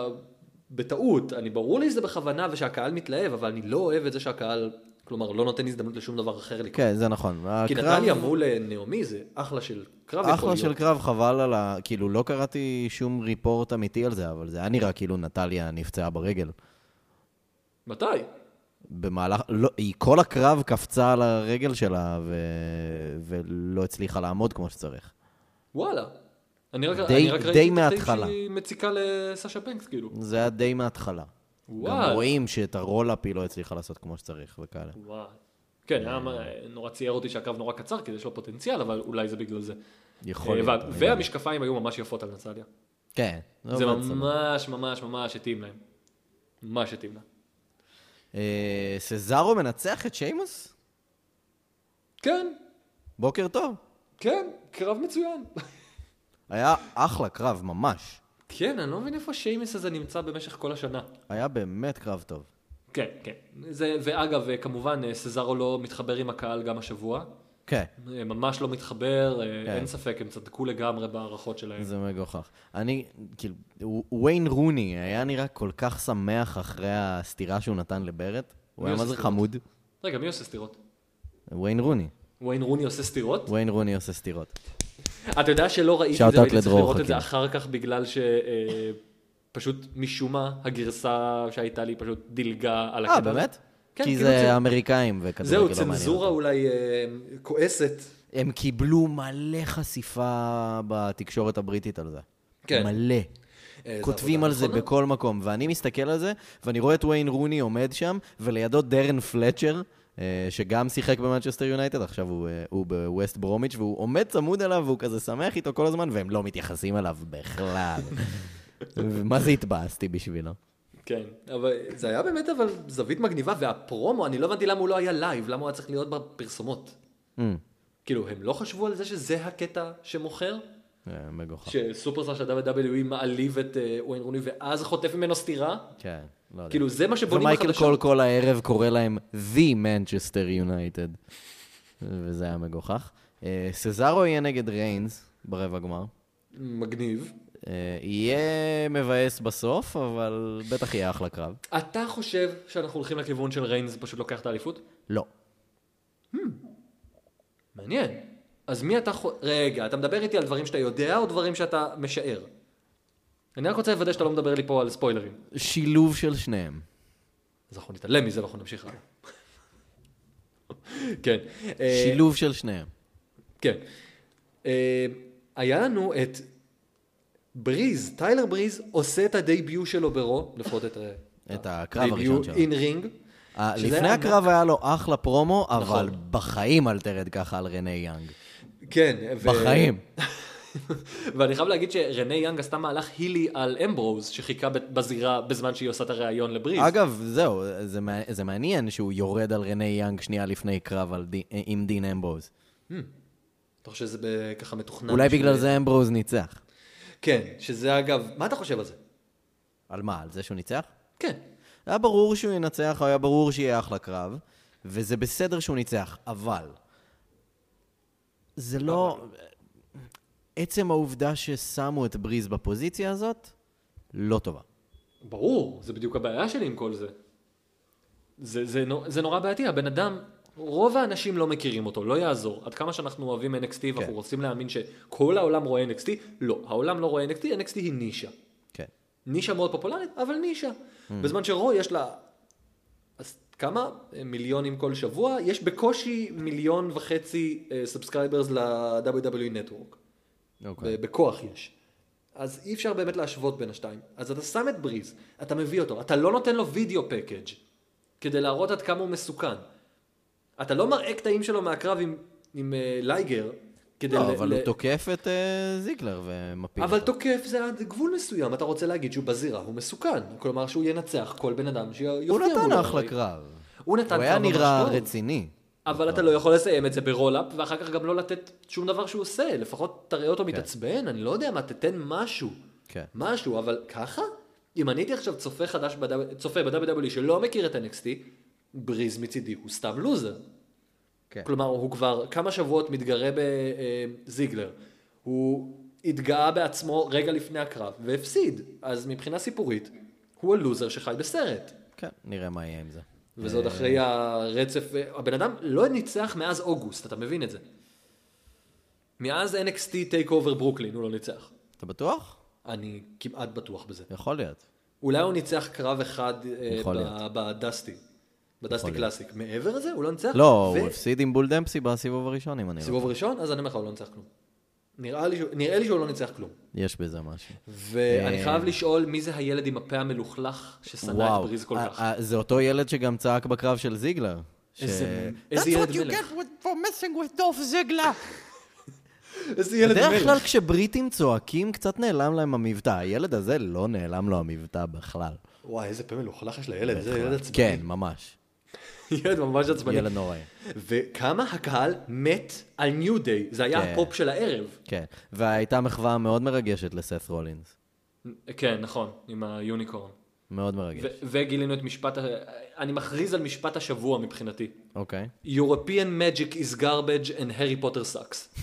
Speaker 4: בטעות, אני ברור לי שזה בכוונה ושהקהל מתלהב, אבל אני לא אוהב את זה שהקהל, כלומר, לא נותן הזדמנות לשום דבר אחר לקרות.
Speaker 3: כן, זה נכון.
Speaker 4: כי
Speaker 3: הקרב-
Speaker 4: נטליה מול אה, נעמי זה אחלה של קרב יכול
Speaker 3: אחלה
Speaker 4: להיות.
Speaker 3: של קרב, חבל על ה... כאילו, לא קראתי שום ריפורט אמיתי על זה, אבל זה היה נראה כאילו נטליה נפצעה ברגל.
Speaker 4: מתי?
Speaker 3: במהלך, לא, היא כל הקרב קפצה על הרגל שלה ו... ולא הצליחה לעמוד כמו שצריך.
Speaker 4: וואלה. אני רק,
Speaker 3: די-
Speaker 4: אני רק
Speaker 3: די
Speaker 4: ראיתי את הטייק
Speaker 3: מההתחלה.
Speaker 4: שהיא מציקה לסשה בנקס, כאילו.
Speaker 3: זה היה די מההתחלה.
Speaker 4: וואי.
Speaker 3: גם רואים שאת הרולאפ היא לא הצליחה לעשות כמו שצריך וכאלה.
Speaker 4: וואי. כן, היה נורא צייר אותי שהקרב נורא קצר, כי יש לו פוטנציאל, אבל אולי זה בגלל זה.
Speaker 3: יכול
Speaker 4: אה,
Speaker 3: להיות.
Speaker 4: וה-
Speaker 3: אני לא יודע.
Speaker 4: והמשקפיים היו ממש יפות על נצליה.
Speaker 3: כן.
Speaker 4: זה
Speaker 3: עובד סבבה.
Speaker 4: ממש ממש ממש התאים להם. ממש התאים להם.
Speaker 3: אה, סזארו מנצח את שיימוס?
Speaker 4: כן,
Speaker 3: בוקר טוב.
Speaker 4: כן, קרב מצוין. [LAUGHS]
Speaker 3: היה אחלה קרב, ממש.
Speaker 4: כן, אני לא מבין איפה שיימס הזה נמצא במשך כל השנה.
Speaker 3: היה באמת קרב טוב.
Speaker 4: כן, כן. זה, ואגב, אה, כמובן, אה, סזארו לא מתחבר עם הקהל גם השבוע.
Speaker 3: כן,
Speaker 4: אה, ממש לא מתחבר, אה,
Speaker 3: כן.
Speaker 4: אין ספק, הם צדקו לגמרי בהערכות שלהם.
Speaker 3: זה מגוחך. אני, כאילו, ו- וויין רוני היה נראה כל כך שמח אחרי הסטירה שהוא נתן לברט. הוא
Speaker 4: מי
Speaker 3: היה מה
Speaker 4: עושה
Speaker 3: זה
Speaker 4: סטירות?
Speaker 3: חמוד.
Speaker 4: רגע, מי עושה סטירות?
Speaker 3: וויין רוני.
Speaker 4: וויין רוני עושה סטירות?
Speaker 3: וויין רוני עושה סטירות.
Speaker 4: אתה יודע שלא ראיתי
Speaker 3: Shout
Speaker 4: את
Speaker 3: out
Speaker 4: זה, והייתי צריך
Speaker 3: לדרור
Speaker 4: לראות את זה
Speaker 3: חכים.
Speaker 4: אחר כך בגלל ש... אה, פשוט משום מה הגרסה שהייתה לי פשוט דילגה על
Speaker 3: אה,
Speaker 4: הקטע. הזה.
Speaker 3: באמת?
Speaker 4: כן,
Speaker 3: כי
Speaker 4: כאילו
Speaker 3: זה
Speaker 4: צנ-
Speaker 3: אמריקאים וכדורגל לא
Speaker 4: זהו,
Speaker 3: מעניין.
Speaker 4: צנזורה
Speaker 3: אותם.
Speaker 4: אולי אה, כועסת.
Speaker 3: הם קיבלו מלא חשיפה בתקשורת הבריטית על זה.
Speaker 4: כן.
Speaker 3: מלא.
Speaker 4: אה, זו
Speaker 3: כותבים
Speaker 4: עבודה
Speaker 3: על זה
Speaker 4: נכונה.
Speaker 3: בכל מקום, ואני מסתכל על זה, ואני רואה את וויין רוני עומד שם, ולידו דרן פלצ'ר, אה, שגם שיחק במנצ'סטר יונייטד, עכשיו הוא, אה, הוא בווסט ברומיץ', והוא עומד צמוד אליו, והוא כזה שמח איתו כל הזמן, והם לא מתייחסים אליו בכלל.
Speaker 4: [LAUGHS]
Speaker 3: מה זה התבאסתי בשבילו?
Speaker 4: כן, אבל
Speaker 5: זה היה באמת אבל זווית מגניבה, והפרומו, אני לא הבנתי למה הוא לא היה לייב, למה הוא היה צריך להיות בפרסומות.
Speaker 3: Mm,
Speaker 4: כאילו, הם לא חשבו על זה שזה הקטע שמוכר?
Speaker 3: אה, מגוחך.
Speaker 4: שסופרסטאר של WWE מעליב את אה, וויין רוני ואז חוטף ממנו סטירה?
Speaker 3: כן, לא יודע.
Speaker 4: כאילו, זה מה שבונים
Speaker 3: ומייקל
Speaker 4: בחדשות.
Speaker 3: קול כל הערב קורא להם The Manchester United, וזה היה מגוחך. אה, סזארו יהיה נגד ריינס ברבע גמר.
Speaker 4: מגניב.
Speaker 3: אה, יהיה מבאס בסוף, אבל בטח יהיה אחלה קרב.
Speaker 4: אתה חושב שאנחנו הולכים לכיוון של ריינס פשוט לוקח את האליפות?
Speaker 3: לא.
Speaker 4: מעניין. אז מי אתה חו... רגע, אתה מדבר איתי על דברים שאתה יודע או דברים שאתה משער? אני רק רוצה לוודא שאתה לא מדבר לי פה על ספוילרים.
Speaker 3: שילוב של שניהם.
Speaker 4: אז אנחנו נתעלם מזה ואנחנו נמשיך הלאה. [LAUGHS] כן. אה,
Speaker 3: שילוב של שניהם.
Speaker 4: כן. אה, היה לנו את בריז, טיילר בריז עושה את הדייביו שלו ברו, לפחות את אה,
Speaker 3: את הקרב הראשון שלו.
Speaker 4: אין רינג.
Speaker 3: אה,
Speaker 4: שזה
Speaker 3: לפני
Speaker 4: היה
Speaker 3: הקרב היה לו אחלה פרומו, אבל
Speaker 4: נכון.
Speaker 3: בחיים אל תרד ככה על רנה יאנג.
Speaker 4: כן. ו-
Speaker 3: בחיים.
Speaker 4: ואני חייב להגיד שרנה יאנג עשתה מהלך הילי על אמברוז, שחיכה ב- בזירה בזמן שהיא עושה את הריאיון לבריז.
Speaker 3: אגב, זהו, זה מע- זה מעניין שהוא יורד על רנה יאנג שנייה לפני קרב על די- עם דין אמברוז.
Speaker 4: אתה חושב שזה ב- ככה מתוכנן?
Speaker 3: אולי
Speaker 4: בשביל-
Speaker 3: בגלל זה אמברוז ניצח.
Speaker 4: כן, שזה אגב, מה אתה חושב על זה?
Speaker 3: על מה? על זה שהוא ניצח?
Speaker 4: כן.
Speaker 3: היה ברור שהוא ינצח, היה ברור שיהיה אחלה קרב, וזה בסדר שהוא ניצח, אבל... זה לא... עצם העובדה ששמו את בריז בפוזיציה הזאת, לא טובה.
Speaker 4: ברור, זה בדיוק הבעיה שלי עם כל זה. זה, זה, נו- זה נורא בעייתי, הבן אדם, רוב האנשים לא מכירים אותו, לא יעזור. עד כמה שאנחנו אוהבים NXT ואנחנו
Speaker 3: כן.
Speaker 4: רוצים להאמין שכל העולם רואה NXT, לא, העולם לא רואה NXT, NXT היא נישה.
Speaker 3: כן.
Speaker 4: נישה מאוד פופולרית, אבל נישה.
Speaker 3: Mm.
Speaker 4: בזמן שרו יש לה, אז כמה? מיליונים כל שבוע, יש בקושי מיליון וחצי אה, סאבסקרייברס ל-WWE E Network.
Speaker 3: אוקיי.
Speaker 4: ב- בכוח יש. אז אי אפשר באמת להשוות בין השתיים. אז אתה שם את בריז, אתה מביא אותו, אתה לא נותן לו וידאו פקאג' כדי להראות עד כמה הוא מסוכן. אתה לא מראה קטעים שלו מהקרב עם, עם uh, לייגר, כדי...
Speaker 3: לא,
Speaker 4: ל-
Speaker 3: אבל
Speaker 4: ל-
Speaker 3: הוא תוקף את אה, זיגלר ומפיל
Speaker 4: אבל
Speaker 3: אותו.
Speaker 4: תוקף זה עד גבול מסוים, אתה רוצה להגיד שהוא בזירה, הוא מסוכן. כלומר שהוא ינצח כל בן אדם שיופיע
Speaker 3: הוא
Speaker 4: מולו.
Speaker 3: נתן אחלה קרב.
Speaker 4: לא- הוא נתן
Speaker 3: הוא היה
Speaker 4: קרב ממש
Speaker 3: נראה
Speaker 4: טוב.
Speaker 3: רציני.
Speaker 4: אבל אתה לא יכול לסיים את זה ברולאפ, ואחר כך גם לא לתת שום דבר שהוא עושה. לפחות תראה אותו מתעצבן, אני לא יודע מה, תתן משהו.
Speaker 3: כן.
Speaker 4: משהו, אבל ככה? אם אני הייתי עכשיו צופה חדש, בד- צופה ב-WWE שלא מכיר את NXT, בריז מצידי הוא סתם לוזר.
Speaker 3: כן.
Speaker 4: כלומר, הוא כבר כמה שבועות מתגרה בזיגלר. הוא התגאה בעצמו רגע לפני הקרב והפסיד. אז מבחינה סיפורית, הוא הלוזר שחי בסרט.
Speaker 3: כן, נראה מה יהיה עם זה.
Speaker 4: וזה
Speaker 3: אה.
Speaker 4: עוד אחרי הרצף, הבן אדם לא ניצח מאז אוגוסט, אתה מבין את זה. מאז NXT טייק אובר ברוקלין הוא לא ניצח.
Speaker 3: אתה בטוח?
Speaker 4: אני כמעט בטוח בזה.
Speaker 3: יכול להיות.
Speaker 4: אולי הוא ניצח קרב אחד אה,
Speaker 3: יכול
Speaker 4: ב-
Speaker 3: להיות.
Speaker 4: בדסטי, בדסטי קלאסיק. מעבר לזה הוא לא ניצח.
Speaker 3: לא,
Speaker 4: ו-
Speaker 3: הוא הפסיד עם בול דמפסי בסיבוב הראשון, אם אני לא...
Speaker 4: סיבוב ראשון, אז אני אומר לך, הוא לא ניצח כלום. נראה לי, שהוא- נראה לי שהוא לא ניצח כלום.
Speaker 3: יש בזה משהו. אה.
Speaker 4: ואני חייב לשאול מי זה הילד עם הפה המלוכלך ששנא את
Speaker 3: וואו,
Speaker 4: בריז כל
Speaker 3: אה,
Speaker 4: כך.
Speaker 3: אה, זה אותו ילד שגם צעק בקרב של זיגלר. ש-
Speaker 4: איזה- איזה ילד מלך.
Speaker 3: with- for messing with דוף זיגלר.
Speaker 4: איזה ילד
Speaker 3: בדרך כלל
Speaker 4: מלך.
Speaker 3: כשבריטים צועקים, קצת נעלם להם המבטא. הילד הזה לא נעלם לו המבטא בכלל.
Speaker 4: וואי, איזה פה מלוכלך יש לילד, איזה ילד עצבני.
Speaker 3: כן, ממש.
Speaker 4: [LAUGHS] ילד ממש עצבני.
Speaker 3: ילד נוראי.
Speaker 4: וכמה הקהל מת על ניו דיי, זה היה
Speaker 3: כן.
Speaker 4: הפופ של הערב.
Speaker 3: כן. והייתה מחווה מאוד מרגשת לסת רולינס.
Speaker 1: כן, נכון, עם היוניקורן.
Speaker 3: מאוד מרגש.
Speaker 1: ו- וגילינו את משפט, ה- אני מכריז על משפט השבוע מבחינתי.
Speaker 3: אוקיי.
Speaker 1: European magic is garbage and Harry Potter [LAUGHS] sucks.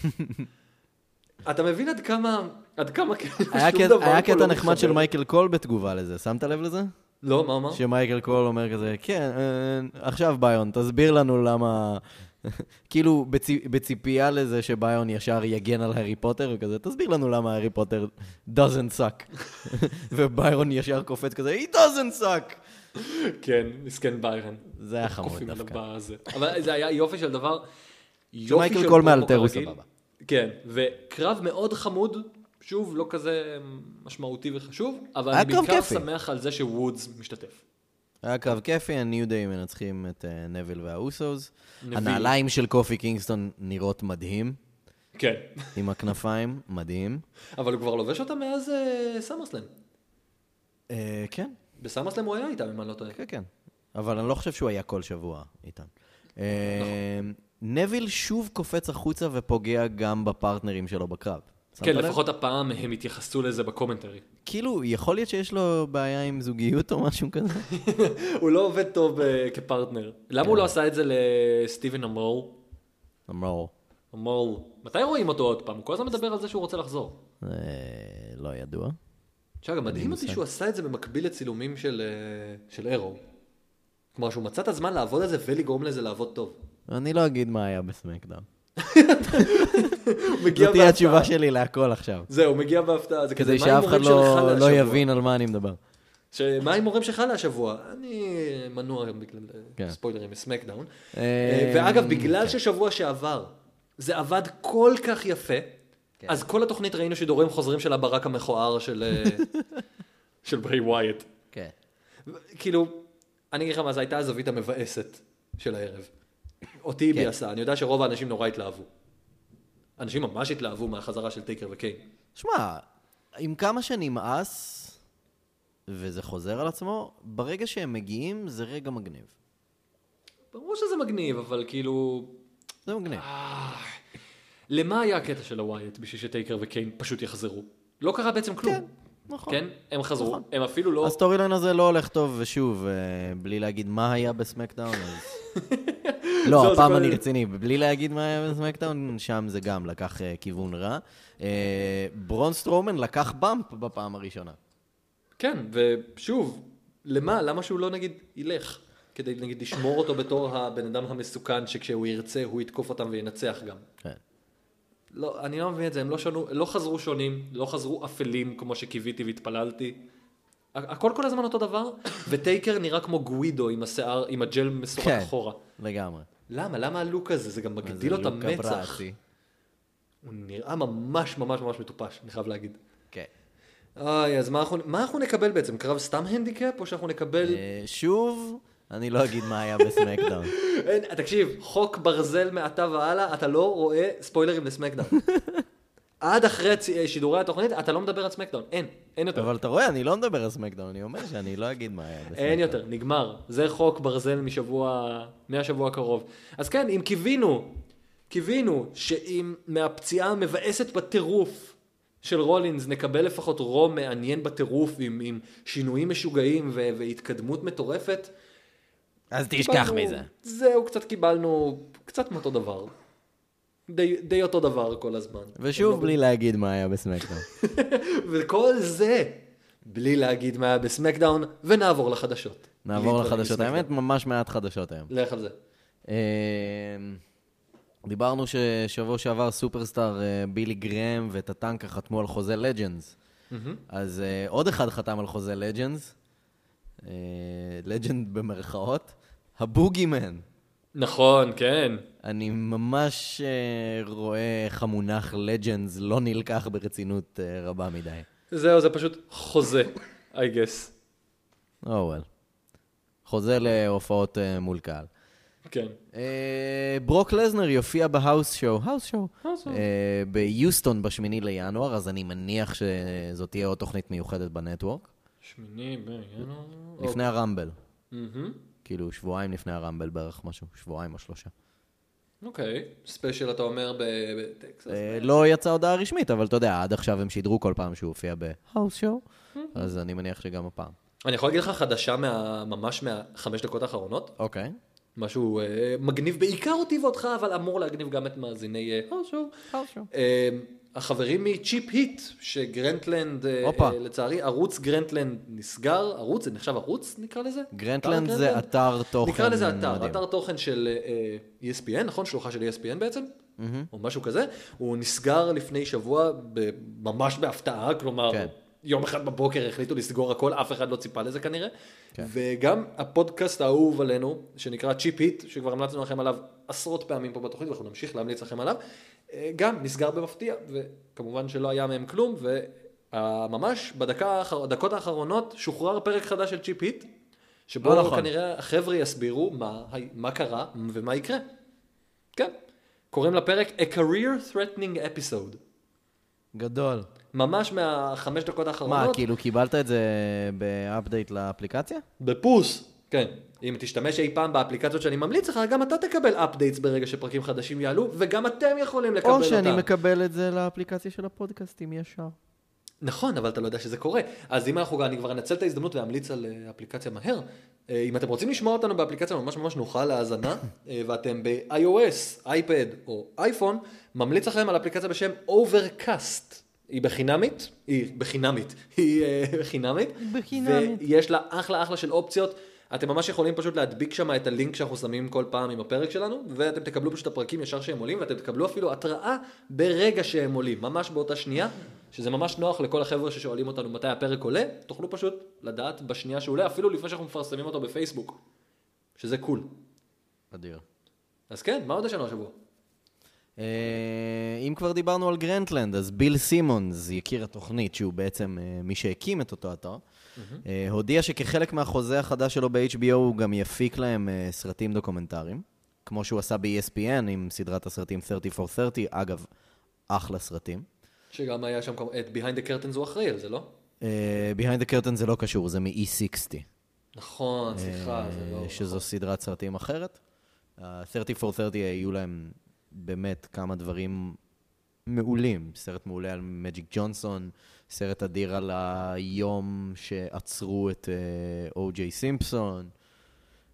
Speaker 4: אתה מבין עד כמה, עד כמה כאילו
Speaker 1: כן
Speaker 3: היה
Speaker 4: שום
Speaker 3: קט-
Speaker 4: דבר
Speaker 3: היה
Speaker 4: פה לא
Speaker 3: קטע נחמד
Speaker 4: מתחבר.
Speaker 3: של מייקל קול בתגובה לזה, שמת לב לזה?
Speaker 4: לא, מה אמר?
Speaker 3: שמייקל קול אומר כזה, כן, אה, עכשיו ביון, תסביר לנו למה... [LAUGHS] כאילו, בצי- בציפייה לזה שביון ישר יגן על הארי פוטר, הוא כזה, תסביר לנו למה הארי פוטר doesn't suck. [LAUGHS] וביון ישר קופץ כזה, he doesn't suck!
Speaker 1: כן, מסכן ביירן.
Speaker 3: זה היה חמוד
Speaker 1: קופים עליו
Speaker 3: דווקא.
Speaker 1: בזה. אבל זה היה יופי של דבר. יופי
Speaker 3: מייקל
Speaker 1: של
Speaker 3: קול
Speaker 1: פרומו
Speaker 3: מאלתר הוא
Speaker 1: כרגיל.
Speaker 3: סבבה.
Speaker 1: כן, וקרב מאוד חמוד, שוב, לא כזה משמעותי וחשוב, אבל
Speaker 3: היה
Speaker 1: אני
Speaker 3: קרב
Speaker 1: בעיקר
Speaker 3: כיפי.
Speaker 1: שמח על זה שוודס משתתף.
Speaker 3: היה קרב כיפי, הניו דיי מנצחים את אה, נביל והאוסוס.
Speaker 1: נביל.
Speaker 3: הנעליים של קופי קינגסטון נראות מדהים,
Speaker 1: [LAUGHS] כן,
Speaker 3: עם הכנפיים, מדהים.
Speaker 4: אבל הוא כבר לובש אותה מאז אה, סמרסלאם.
Speaker 3: אה, כן,
Speaker 4: בסמרסלאם הוא היה איתם, אם אני לא טועה.
Speaker 3: כן, כן. אבל אני לא חושב שהוא היה כל שבוע איתן.
Speaker 4: נכון.
Speaker 3: אה, נביל שוב קופץ החוצה ופוגע גם בפרטנרים שלו בקרב. שמת
Speaker 1: כן,
Speaker 3: לב?
Speaker 1: לפחות הפעם הם התייחסו לזה בקומנטרי.
Speaker 3: כאילו, יכול להיות שיש לו בעיה עם זוגיות או משהו כזה?
Speaker 1: הוא לא עובד טוב אה, כפרטנר. למה הוא לא עשה את זה לסטיבן אמור?
Speaker 3: אמרו,
Speaker 1: אמור. מתי רואים אותו עוד פעם? הוא כל הזמן מדבר על זה שהוא רוצה לחזור.
Speaker 3: אה, לא ידוע.
Speaker 4: תשמע, גם מדהים אותי שהוא עשה את זה במקביל לצילומים של, אה, של אירו. כלומר, שהוא מצא את הזמן לעבוד על זה ולגרום לזה לעבוד טוב.
Speaker 3: אני לא אגיד מה היה בסמקדאם.
Speaker 4: הוא
Speaker 3: זאת
Speaker 4: מגיע
Speaker 3: תהיה
Speaker 4: בהפתעה.
Speaker 3: התשובה שלי להכל עכשיו.
Speaker 4: זהו, הוא מגיע בהפתעה. זה כזה,
Speaker 3: כדי
Speaker 4: מה
Speaker 3: שאף אחד
Speaker 4: ההימורים שלך
Speaker 3: לא, לא
Speaker 4: לשבוע?
Speaker 3: יבין על מה אני מדבר.
Speaker 4: ש- מה ההימורים שלך להשבוע? אני מנוע היום בגלל אה,
Speaker 3: כן.
Speaker 4: ספוילרים מסמקדאון.
Speaker 3: אה, כן.
Speaker 4: אה, ואגב, בגלל ששבוע שעבר זה עבד כל כך יפה,
Speaker 3: כן.
Speaker 4: אז כל התוכנית ראינו שידורים חוזרים של הברק המכוער של,
Speaker 3: [LAUGHS]
Speaker 4: אה, של ברי ווייט.
Speaker 3: כן.
Speaker 4: ו- כאילו, אני אגיד לך מה, זו הייתה הזווית המבאסת של הערב. אותי היא
Speaker 3: כן.
Speaker 4: ביאסה, אני יודע שרוב האנשים נורא התלהבו. אנשים ממש התלהבו מהחזרה של טייקר וקיין.
Speaker 3: שמע, עם כמה שנמאס, וזה חוזר על עצמו, ברגע שהם מגיעים זה רגע מגניב.
Speaker 1: ברור שזה מגניב, אבל כאילו...
Speaker 3: זה מגניב.
Speaker 1: למה היה הקטע של הווייט בשביל שטייקר וקיין פשוט יחזרו? לא קרה בעצם כלום.
Speaker 3: כן, נכון.
Speaker 1: כן? הם חזרו.
Speaker 3: נכון.
Speaker 1: הם אפילו לא...
Speaker 3: הסטורי ליין הזה לא הולך טוב, ושוב, אה, בלי להגיד מה היה בסמקדאון, אז...
Speaker 1: זהו,
Speaker 3: לא,
Speaker 1: זה
Speaker 3: הפעם
Speaker 1: כל-
Speaker 3: אני רציני, בלי להגיד מה היה בסמקדאון, שם זה גם לקח אה, כיוון רע. אה, ברון סטרומן לקח באמפ בפעם הראשונה.
Speaker 4: כן, ושוב, למה? למה שהוא לא נגיד ילך? כדי נגיד לשמור אותו בתור הבן אדם המסוכן שכשהוא ירצה הוא יתקוף אותם וינצח גם.
Speaker 3: כן.
Speaker 4: לא, אני לא מבין את זה, הם לא, שונו, לא חזרו שונים, לא חזרו אפלים כמו שקיוויתי והתפללתי. ה- הכל כל הזמן אותו דבר, וטייקר נראה כמו גווידו עם השיער, עם הג'ל מסורת
Speaker 3: כן.
Speaker 4: אחורה.
Speaker 3: לגמל.
Speaker 4: למה? למה הלוק הזה? זה גם מגדיל
Speaker 3: זה
Speaker 4: לו את
Speaker 3: לוק
Speaker 4: המצח.
Speaker 3: אברסי.
Speaker 4: הוא נראה ממש ממש ממש מטופש, אני חייב להגיד.
Speaker 3: כן.
Speaker 4: אוי, אז מה אנחנו, מה אנחנו נקבל בעצם? קרב סתם הנדיקאפ, או שאנחנו נקבל...
Speaker 3: אה, שוב, אני לא אגיד מה היה בסמקדאון.
Speaker 4: אין, תקשיב, חוק ברזל מעתה והלאה, אתה לא רואה ספוילרים לסמקדאון. עד אחרי צ- שידורי התוכנית, אתה לא מדבר על סמקדאון. אין, אין יותר.
Speaker 3: אבל אתה רואה, אני לא מדבר על סמקדאון, אני אומר שאני לא אגיד מה היה בסמקדאון.
Speaker 1: אין יותר, נגמר. זה חוק ברזל משבוע, מהשבוע הקרוב.
Speaker 4: אז כן, אם קיווינו, קיווינו שאם מהפציעה המבאסת בטירוף של רולינס נקבל לפחות רום מעניין בטירוף עם, עם שינויים משוגעים ו- והתקדמות מטורפת,
Speaker 3: אז תשכח
Speaker 4: קיבלנו-
Speaker 3: מזה.
Speaker 4: זהו, קצת קיבלנו, קצת מאותו דבר. די, די אותו דבר כל הזמן.
Speaker 3: ושוב, בלי להגיד מה היה בסמקדאון.
Speaker 4: וכל זה בלי להגיד מה היה בסמקדאון, ונעבור לחדשות.
Speaker 3: נעבור
Speaker 4: להתראות
Speaker 3: לחדשות.
Speaker 4: בסמקדאון.
Speaker 3: האמת, ממש מעט חדשות היום.
Speaker 4: לך על זה.
Speaker 3: אמ, דיברנו ששבוע שעבר סופרסטאר אה, בילי גרם וטטנקה חתמו על חוזה לג'נדס. אז אה, עוד אחד חתם על חוזה לג'נדס, לג'נד במרכאות, הבוגימן.
Speaker 1: נכון, כן.
Speaker 3: אני ממש אה, רואה איך המונח לג'נדס לא נלקח ברצינות אה, רבה מדי.
Speaker 1: זהו, זה פשוט חוזה, I guess.
Speaker 3: Oh well. חוזר להופעות אה, מול קהל.
Speaker 1: כן.
Speaker 3: אה, ברוק לזנר יופיע בהאוס שואו, האוס שואו,
Speaker 1: האוס שואו.
Speaker 3: אה, ביוסטון בשמיני לינואר, אז אני מניח שזאת תהיה עוד תוכנית מיוחדת בנטוורק,
Speaker 1: שמיני בינואר.
Speaker 3: לפני הרמבל,
Speaker 1: מהמם.
Speaker 3: כאילו שבועיים לפני הרמבל בערך משהו, שבועיים או שלושה.
Speaker 1: אוקיי.
Speaker 4: ספיישל, אתה אומר, ב- בטקסס?
Speaker 3: אה, לא יצאה הודעה רשמית, אבל אתה יודע, עד עכשיו הם שידרו כל פעם שהוא הופיע בהאוס שואו, [LAUGHS] אז אני מניח שגם הפעם.
Speaker 4: אני יכול להגיד לך חדשה מה- ממש מהחמש דקות האחרונות?
Speaker 3: אוקיי.
Speaker 4: משהו אה, מגניב בעיקר אותי ואותך, אבל אמור להגניב גם את מאזיני אה, הושו.
Speaker 3: הושו.
Speaker 4: אה, החברים מצ'יפ היט, שגרנטלנד, אה,
Speaker 3: הופה.
Speaker 4: אה, לצערי, ערוץ גרנטלנד נסגר, ערוץ, זה נחשב ערוץ נקרא לזה?
Speaker 3: גרנטלנד
Speaker 4: אתר
Speaker 3: זה
Speaker 4: גרנטלנד?
Speaker 3: אתר תוכן
Speaker 4: נקרא לזה אתר,
Speaker 3: מדהים.
Speaker 4: אתר תוכן של אה, אה, ESPN, נכון? שלוחה של ESPN בעצם? או משהו כזה. הוא נסגר לפני שבוע ב- ממש בהפתעה, כלומר,
Speaker 3: כן.
Speaker 4: יום אחד בבוקר החליטו לסגור הכל, אף אחד לא ציפה לזה כנראה. וגם הפודקאסט האהוב עלינו, שנקרא צ'יפ היט, שכבר המלצנו לכם עליו עשרות פעמים פה בתוכנית, ואנחנו נמשיך להמליץ לכם עליו, אה, גם נסגר במפתיע, וכמובן שלא היה מהם כלום, וממש בדקות האחרונות שוחרר פרק חדש של צ'יפ היט. שבו
Speaker 3: לא
Speaker 4: לא
Speaker 3: נכון.
Speaker 4: נכון. כנראה החבר'ה יסבירו מה, הי- מה קרה ומה יקרה. כן. קוראים לפרק A Career Threatening Episode.
Speaker 3: גדול.
Speaker 4: ממש מהחמש דקות האחרונות.
Speaker 3: מה, כאילו קיבלת את זה באפדייט לאפליקציה?
Speaker 4: בפוס. כן. אם תשתמש אי פעם באפליקציות שאני ממליץ לך, גם אתה תקבל updates ברגע שפרקים חדשים יעלו, וגם אתם יכולים לקבל
Speaker 3: או
Speaker 4: אותם.
Speaker 3: שאני מקבל את זה לאפליקציה של הפודקאסטים ישר.
Speaker 4: נכון, אבל אתה לא יודע שזה קורה. אז אם אנחנו, אני כבר אנצל את ההזדמנות ואמליץ על אה, אפליקציה מהר. אה, אם אתם רוצים לשמוע אותנו באפליקציה ממש ממש נוחה להאזנה, אה, ואתם ב-iOS, אייפד או אייפון, ממליץ לכם על אפליקציה בשם Overcast. היא בחינמית, היא בחינמית, היא אה, [LAUGHS] חינמית.
Speaker 3: בחינמית.
Speaker 4: ויש לה אחלה אחלה של אופציות. אתם ממש יכולים פשוט להדביק שם את הלינק שאנחנו שמים כל פעם עם הפרק שלנו, ואתם תקבלו פשוט את הפרקים ישר שהם עולים, ואתם תקבלו אפילו התראה ברגע שהם עולים, ממש באותה שנייה, שזה ממש נוח לכל החבר'ה ששואלים אותנו מתי הפרק עולה, תוכלו פשוט לדעת בשנייה שהוא עולה, אפילו לפני שאנחנו מפרסמים אותו בפייסבוק, שזה קול.
Speaker 3: אדיר.
Speaker 4: אז כן, מה עוד יש לנו השבוע?
Speaker 3: אה, אם כבר דיברנו על גרנטלנד, אז ביל סימונס, יקיר התוכנית, שהוא בעצם אה, מי שהקים את אותו אתר, אה, הודיע שכחלק מהחוזה החדש שלו ב-HBO הוא גם יפיק להם אה, סרטים דוקומנטריים, כמו שהוא עשה ב-ESPN עם סדרת הסרטים 30 for 30, אגב, אחלה סרטים.
Speaker 4: שגם היה שם כמובן, את Behind the Curtains הוא אחראי על זה, לא?
Speaker 3: אה, Behind the Curtain זה לא קשור, זה מ-E60.
Speaker 4: נכון, סליחה, זה
Speaker 3: אה,
Speaker 4: לא...
Speaker 3: שזו סדרת סרטים אחרת. ה- 30 for 30 היו להם באמת כמה דברים מעולים. סרט מעולה על מג'יק ג'ונסון, סרט אדיר על היום שעצרו את אה, או.ג'יי סימפסון.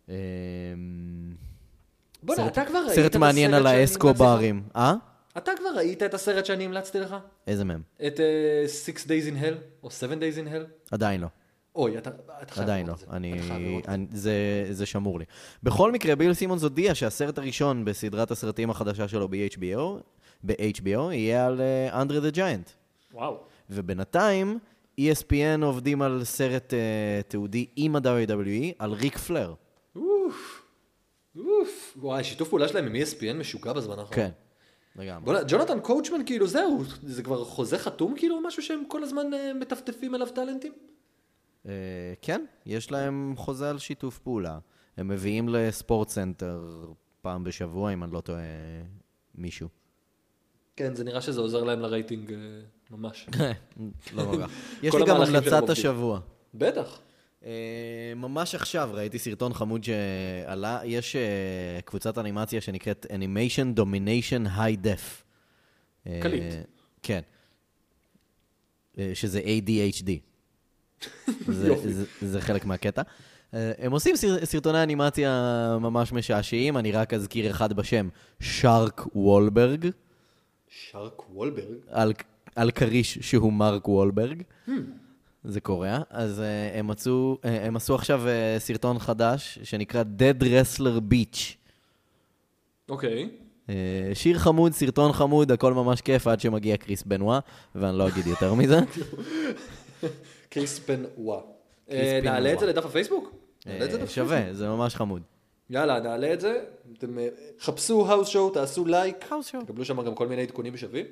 Speaker 3: אה,
Speaker 4: בוא'נה,
Speaker 3: סרט-
Speaker 4: אתה כבר ראית את
Speaker 3: סרט מעניין
Speaker 4: הסרט
Speaker 3: על
Speaker 4: שאני
Speaker 3: האסקוברים. אה?
Speaker 4: המלצתי לך? אתה כבר ראית את הסרט שאני המלצתי לך?
Speaker 3: איזה מהם?
Speaker 4: את 6 Days in Hell, או 7 Days in Hell.
Speaker 3: עדיין לא.
Speaker 4: אוי, אתה, אתה חייב
Speaker 3: עדיין לא,
Speaker 4: לראות את זה.
Speaker 3: אני,
Speaker 4: אתה חייב לראות את
Speaker 3: אני, זה, זה שמור לי. בכל מקרה, ביל סימונס הודיע שהסרט הראשון בסדרת הסרטים החדשה שלו ב-HBO, ב-HBO, יהיה על אה, אנדרי דה ג'יינט.
Speaker 1: וואו.
Speaker 3: ובינתיים, E ESPN עובדים על סרט uh, תיעודי עם ה-WWE, על ריק פלר.
Speaker 4: זה. אוף, וואי, שיתוף פעולה שלהם עם E ESPN משוגע בזמן האחרון.
Speaker 3: כן, לגמרי.
Speaker 4: בוא'נה, ג'ונתן קואוצ'מן כאילו זהו, זה כבר חוזה חתום כאילו, משהו שהם כל הזמן אה, מטפטפים אליו טאלנטים?
Speaker 3: Uh, כן, יש להם חוזה על שיתוף פעולה. הם מביאים לספורט סנטר פעם בשבוע, אם אני לא טועה, מישהו.
Speaker 4: כן, זה נראה שזה עוזר להם לרייטינג אה,
Speaker 3: [LAUGHS]
Speaker 4: ממש.
Speaker 3: לא
Speaker 4: [LAUGHS]
Speaker 3: כל כך. יש
Speaker 4: כל
Speaker 3: לי גם
Speaker 4: המהלכים שלהם
Speaker 3: המלצת
Speaker 4: עובדים.
Speaker 3: השבוע.
Speaker 4: בטח.
Speaker 3: אה, ממש עכשיו ראיתי סרטון חמוד שעלה, יש אה, קבוצת אנימציה שנקראת Animation Domination High Def. אה,
Speaker 4: קליט.
Speaker 3: כן. אה, שזה
Speaker 4: [LAUGHS]
Speaker 3: ADHD. זה,
Speaker 4: יופי.
Speaker 3: זה, זה חלק מהקטע. אה, הם עושים סר, סרטוני אנימציה ממש משעשעים, אני רק אזכיר אחד בשם, שרק וולברג,
Speaker 4: שרק וולברג?
Speaker 3: על, על כריש שהוא מרק וולברג. זה קוריאה, אז uh, הם, מצאו, uh, הם עשו עכשיו uh, סרטון חדש שנקרא Dead Wrestler Beach.
Speaker 1: אוקיי.
Speaker 3: Uh, שיר חמוד, סרטון חמוד, הכל ממש כיף
Speaker 4: [LAUGHS]
Speaker 3: עד אה, שמגיע קריס בנווה, ואני לא אגיד יותר מזה.
Speaker 4: קריס פן וואה. אה,
Speaker 3: קריספין
Speaker 4: נעלה את זה
Speaker 3: נורא.
Speaker 4: לדף הפייסבוק? נעלה את זה
Speaker 3: אה,
Speaker 4: לדף הפייסבוק.
Speaker 3: שווה, זה ממש חמוד.
Speaker 4: יאללה, נעלה את זה. אתם אה, חפשו האוס שואו, תעשו לייק.
Speaker 3: House Show.
Speaker 4: תקבלו שם גם כל מיני עדכונים שווים.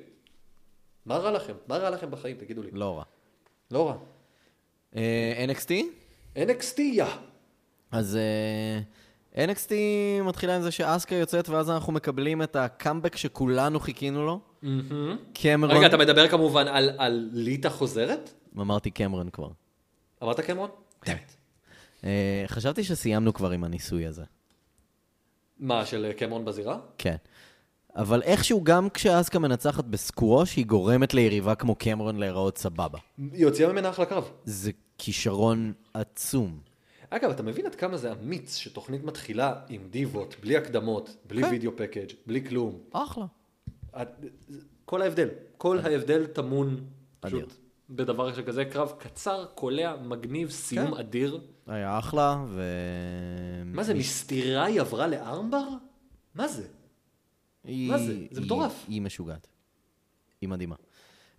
Speaker 4: מה רע לכם? מה רע לכם בחיים? תגידו לי.
Speaker 3: לא רע.
Speaker 4: לא רע.
Speaker 3: אה, NXT?
Speaker 4: NXT, יא.
Speaker 3: אז אה, NXT מתחילה עם זה שאסקה יוצאת, ואז אנחנו מקבלים את הקאמבק שכולנו חיכינו לו. Mm-hmm. קמרון.
Speaker 4: רגע, אתה מדבר כמובן על- על ליטה חוזרת?
Speaker 3: אמרתי קמרון כבר.
Speaker 4: אמרת קמרון?
Speaker 3: אה, חשבתי שסיימנו כבר עם הניסוי הזה.
Speaker 4: מה, של אה, קמרון בזירה?
Speaker 3: כן. אבל איכשהו גם כשאסקה מנצחת בסקווש, היא גורמת ליריבה כמו קמרון להיראות סבבה.
Speaker 4: היא הוציאה ממנה אחלה קרב.
Speaker 3: זה כישרון עצום.
Speaker 4: אגב, אתה מבין עד כמה זה אמיץ שתוכנית מתחילה עם דיבות, בלי הקדמות, בלי
Speaker 3: כן.
Speaker 4: וידאו פקאג', בלי כלום.
Speaker 3: אחלה.
Speaker 4: את- כל ההבדל, כל ההבדל טמון
Speaker 3: אדיר.
Speaker 1: פשוט בדבר שכזה, קרב קצר, קולע, מגניב, סיום
Speaker 4: כן.
Speaker 1: אדיר.
Speaker 3: היה אחלה, ו...
Speaker 4: מה זה, מסתירה היא עברה לארמבר? מה זה?
Speaker 3: היא...
Speaker 4: מה זה? זה
Speaker 3: היא-
Speaker 4: מטורף.
Speaker 3: היא משוגעת. היא מדהימה.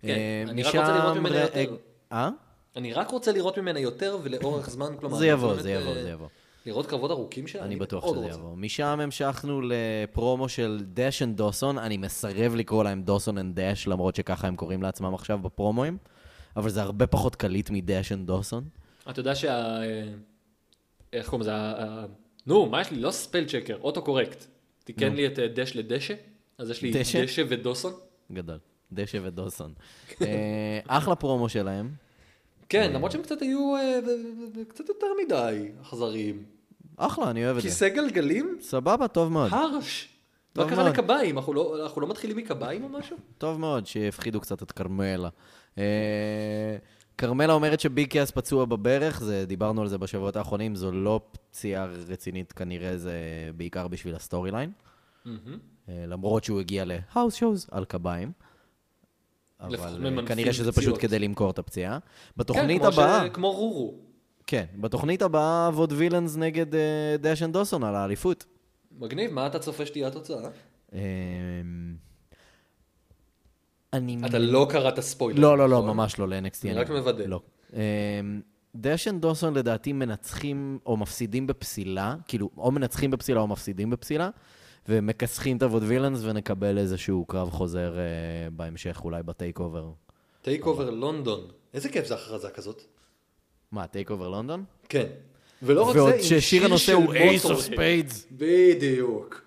Speaker 4: כן,
Speaker 3: אה,
Speaker 4: אני רק רוצה לראות
Speaker 3: משם
Speaker 4: ממנה
Speaker 3: ר-
Speaker 4: יותר.
Speaker 3: אה, אה?
Speaker 4: אני רק רוצה לראות ממנה יותר ולאורך זמן, כלומר...
Speaker 3: זה
Speaker 4: אני
Speaker 3: יבוא,
Speaker 4: באמת,
Speaker 3: זה יבוא,
Speaker 4: אה,
Speaker 3: זה יבוא.
Speaker 4: לראות קרבות ארוכים שלה?
Speaker 3: אני בטוח
Speaker 4: מאוד
Speaker 3: שזה
Speaker 4: רוצה.
Speaker 3: יבוא. משם המשכנו לפרומו של דש אנד דוסון, אני מסרב לקרוא להם דוסון אנד דש, למרות שככה הם קוראים לעצמם עכשיו בפרומואים, אבל זה הרבה פחות קליט מדש אנד דוסון.
Speaker 1: אתה יודע שה... אה, איך קוראים לזה? ה- ה- נו, מה יש לי? לא ספל צ'קר, אוטו קורקט. תיקן לי את אה, דש לדשא, אז יש לי
Speaker 3: דשא?
Speaker 1: דשא ודוסון.
Speaker 3: גדול. דשא ודוסון. אה, אחלה פרומו שלהם.
Speaker 4: כן, למרות שהם קצת היו אה, ו- ו- ו- קצת יותר מדי אכזריים.
Speaker 3: אחלה, אני אוהב את זה.
Speaker 4: כיסא גלגלים?
Speaker 3: סבבה, טוב מאוד.
Speaker 4: הרש.
Speaker 3: טוב
Speaker 4: מה קרה
Speaker 3: לא מאוד.
Speaker 4: לקביים? אנחנו לא- אנחנו לא מתחילים מקביים או משהו?
Speaker 3: טוב מאוד שהפחידו קצת את כרמלה. אה, כרמלה אומרת שביג קאס פצוע בברך, זה, דיברנו על זה בשבועות האחרונים, זו לא פציעה רצינית, כנראה זה בעיקר בשביל הסטורי ליין.
Speaker 4: כן,
Speaker 3: אה, למרות שהוא הגיע להאוס שואוז על קביים.
Speaker 1: לפחות
Speaker 3: אבל אה,
Speaker 1: ממנפים
Speaker 3: כנראה שזה
Speaker 1: פציעות.
Speaker 3: פשוט כדי למכור את הפציעה.
Speaker 4: כן,
Speaker 3: בתוכנית
Speaker 4: כמו ש-
Speaker 3: הבאה,
Speaker 4: כמו רורו.
Speaker 3: כן, בתוכנית הבאה ווד וילאנס נגד אה, דאש אנד דוסון על האליפות.
Speaker 4: מגניב, מה אתה צופה שתהיה התוצאה?
Speaker 3: אה, אני
Speaker 4: אתה לא קראת ספוילר.
Speaker 3: לא, לא, לא,
Speaker 4: נכון?
Speaker 3: ממש לא ל-NXT.
Speaker 4: אני רק מוודא.
Speaker 3: לא. אמ, דאש אנד דוסון לדעתי מנצחים או מפסידים בפסילה, כאילו, או מנצחים בפסילה או מפסידים בפסילה, ומכסחים את הווד וילאנס ונקבל איזשהו קרב חוזר אה, בהמשך, אולי בטייק אובר.
Speaker 4: טייק אובר
Speaker 3: לא.
Speaker 4: לונדון. איזה כיף זה הכרזה כזאת.
Speaker 3: מה, טייק אובר לונדון?
Speaker 4: כן. ולא רק זה,
Speaker 3: ועוד
Speaker 4: עם
Speaker 3: ששיר
Speaker 4: שיר
Speaker 3: הנושא
Speaker 4: של
Speaker 3: הוא Ace of
Speaker 4: מוטורהד.
Speaker 3: Spades.
Speaker 4: בדיוק.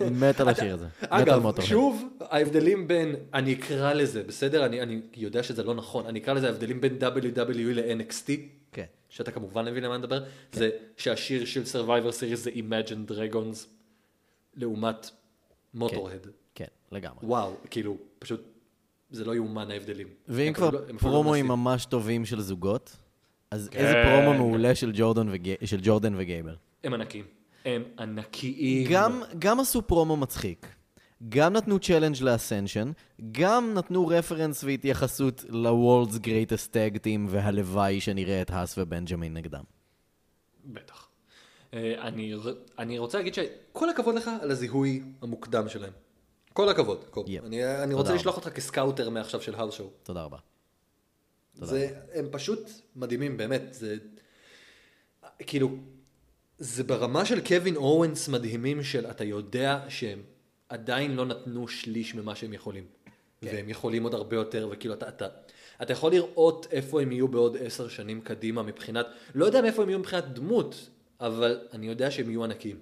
Speaker 3: אני מת על השיר הזה. מת על
Speaker 4: אגב,
Speaker 3: מוטורהד.
Speaker 4: שוב, ההבדלים בין, אני אקרא לזה, בסדר? אני, אני יודע שזה לא נכון, אני אקרא לזה ההבדלים בין E WWE ל-NXT,
Speaker 3: כן.
Speaker 4: שאתה כמובן מבין למה אני מדבר, זה שהשיר של Survivor Series זה Imagine Dragons, לעומת מוטורהד.
Speaker 3: כן, לגמרי.
Speaker 4: וואו, כאילו, פשוט, זה לא יאומן ההבדלים.
Speaker 3: ואם
Speaker 4: הם
Speaker 3: כבר
Speaker 4: אפילו לא- הם אפילו לא
Speaker 3: פרומואים
Speaker 4: מנסים.
Speaker 3: ממש טובים של זוגות, אז איזה פרומו מעולה של ג'ורדן וג- של ג'ורדן וגייבר.
Speaker 1: הם ענקים. הם ענקיים.
Speaker 3: אמ- גם, גם עשו פרומו מצחיק, גם נתנו צ'לנג' לאסנשן, גם נתנו רפרנס והתייחסות ל-World's Greatest Tag Team, והלוואי שנראה את האס ובנג'מין נגדם.
Speaker 1: בטח. אה, אני... ר-
Speaker 4: אני רוצה להגיד שכל הכבוד לך על הזיהוי המוקדם שלהם. כל הכבוד, קוב.
Speaker 3: יפ.
Speaker 4: אני, אני
Speaker 3: תודה
Speaker 4: רוצה
Speaker 3: רבה.
Speaker 4: לשלוח אותך כסקאוטר מעכשיו של האוס שואו.
Speaker 3: תודה רבה.
Speaker 4: זה, הם פשוט מדהימים, באמת. זה... כאילו, זה ברמה של קווין אורנס מדהימים של אתה יודע שהם עדיין לא נתנו שליש ממה שהם יכולים. כן. והם יכולים עוד הרבה יותר, וכאילו אתה, אתה, אתה יכול לראות איפה הם יהיו בעוד עשר שנים קדימה מבחינת, לא יודע מאיפה הם יהיו מבחינת דמות, אבל אני יודע שהם יהיו ענקים.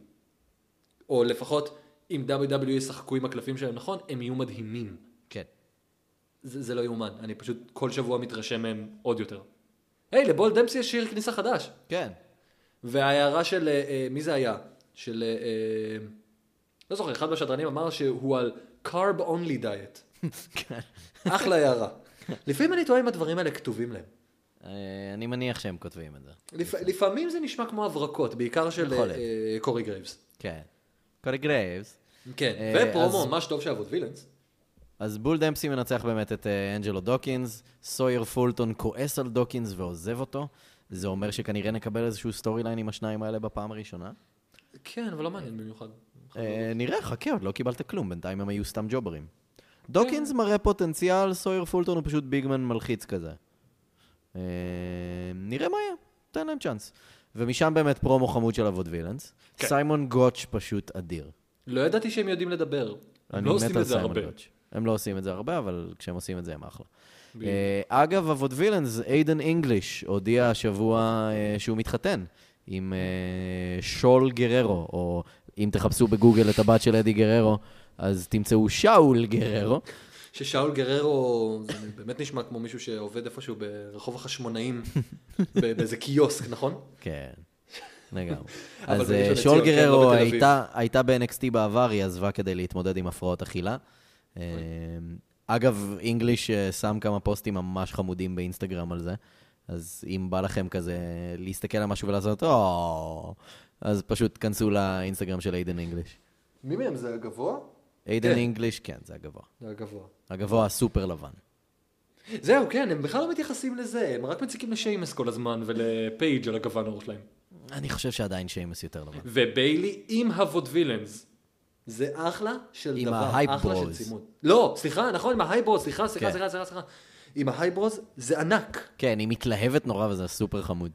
Speaker 4: או לפחות, אם WWE ישחקו עם הקלפים שלהם נכון, הם יהיו מדהימים.
Speaker 3: כן.
Speaker 4: זה, זה לא יאומן, אני פשוט כל שבוע מתרשם מהם עוד יותר. היי, לבול דמפסי יש שיר כניסה חדש.
Speaker 3: כן.
Speaker 4: וההערה של, אה, אה, מי זה היה? של, אה, אה, לא זוכר, אחד מהשדרנים אמר שהוא על carb only diet.
Speaker 3: [LAUGHS] כן.
Speaker 4: אחלה
Speaker 3: [LAUGHS]
Speaker 4: הערה. לפעמים אני טועה אם הדברים האלה כתובים להם.
Speaker 3: אה, אני מניח שהם כותבים את זה.
Speaker 4: לפ, לפעמים זה נשמע כמו הברקות, בעיקר של אה,
Speaker 3: יכול להיות.
Speaker 4: אה, קורי גרייבס.
Speaker 3: כן. קורי גרייבס.
Speaker 4: כן,
Speaker 3: אה,
Speaker 4: ופרומו
Speaker 3: אז-
Speaker 4: ממש טוב של אבות וילנס.
Speaker 3: אז בול דמפסי מנצח באמת את אה, אנג'לו דוקינס, סויר פולטון כועס על דוקינס ועוזב אותו. זה אומר שכנראה נקבל איזשהו סטורי ליין עם השניים האלה בפעם הראשונה.
Speaker 4: כן, אבל לא מעניין במיוחד.
Speaker 3: אה, נראה, חכה, עוד לא קיבלת כלום, בינתיים הם היו סתם ג'וברים. דוקינס מראה פוטנציאל, סויר פולטון הוא פשוט ביגמן מלחיץ כזה. אה, נראה מה יהיה, תן להם צ'אנס. ומשם באמת פרומו חמוד של אבות וילנס.
Speaker 1: כן.
Speaker 3: סיימון גוטש פשוט אדיר.
Speaker 1: לא ידעתי שהם יודעים לדבר. הם
Speaker 3: אני
Speaker 1: לא
Speaker 3: מת
Speaker 1: עושים
Speaker 3: על
Speaker 1: את זה
Speaker 3: סיימון
Speaker 1: הרבה.
Speaker 3: גוטש. הם לא עושים את זה הרבה, אבל כשהם עושים את זה הם אחלה.
Speaker 1: בדיוק.
Speaker 3: אה, אגב, אבות וילנס, איידן אינגליש הודיע השבוע אה, שהוא מתחתן עם אה, שול גררו, או אם תחפשו בגוגל את הבת של אדי גררו, אז תמצאו שאול גררו.
Speaker 4: ששאול גררו, זה באמת נשמע כמו מישהו שעובד איפשהו ברחוב
Speaker 3: [LAUGHS]
Speaker 4: החשמונאים, ב- באיזה קיוסק, נכון?
Speaker 3: כן, לגמרי.
Speaker 4: אבל
Speaker 3: אז
Speaker 4: בראשון
Speaker 3: אה,
Speaker 4: לציון,
Speaker 3: שול
Speaker 4: כן, לא
Speaker 3: גררו
Speaker 4: בתל אביב.
Speaker 3: הייתה- הייתה ב-NXT בעבר, היא עזבה כדי להתמודד עם הפרעות אכילה. אה, אגב, אינגליש אה, שם כמה פוסטים ממש חמודים באינסטגרם על זה, אז אם בא לכם כזה להסתכל על משהו ולעשות או... אז פשוט כנסו לאינסטגרם של איידן אינגליש.
Speaker 4: מי מהם זה הגבוה?
Speaker 3: איידן
Speaker 4: כן.
Speaker 3: אינגליש, כן, זה הגבוה.
Speaker 4: זה הגבוה.
Speaker 3: הגבוה הסופר לבן.
Speaker 4: זהו, כן, הם בכלל לא מתייחסים לזה, הם רק מציקים לשיימס כל הזמן ולפייג' על הגוון העור שלהם.
Speaker 3: אני חושב שעדיין שיימס
Speaker 4: [LAUGHS]
Speaker 3: יותר לבן.
Speaker 1: וביילי עם הוודווילנס.
Speaker 4: זה אחלה של
Speaker 3: עם
Speaker 4: דבר,
Speaker 3: ה-hype
Speaker 4: אחלה של
Speaker 3: bros.
Speaker 4: צימוד. לא, סליחה, נכון, עם ההייברוז, סליחה, סליחה,
Speaker 3: כן.
Speaker 4: סליחה, סליחה, סליחה. עם ההייברוז זה ענק.
Speaker 3: כן, היא מתלהבת נורא וזה סופר חמוד.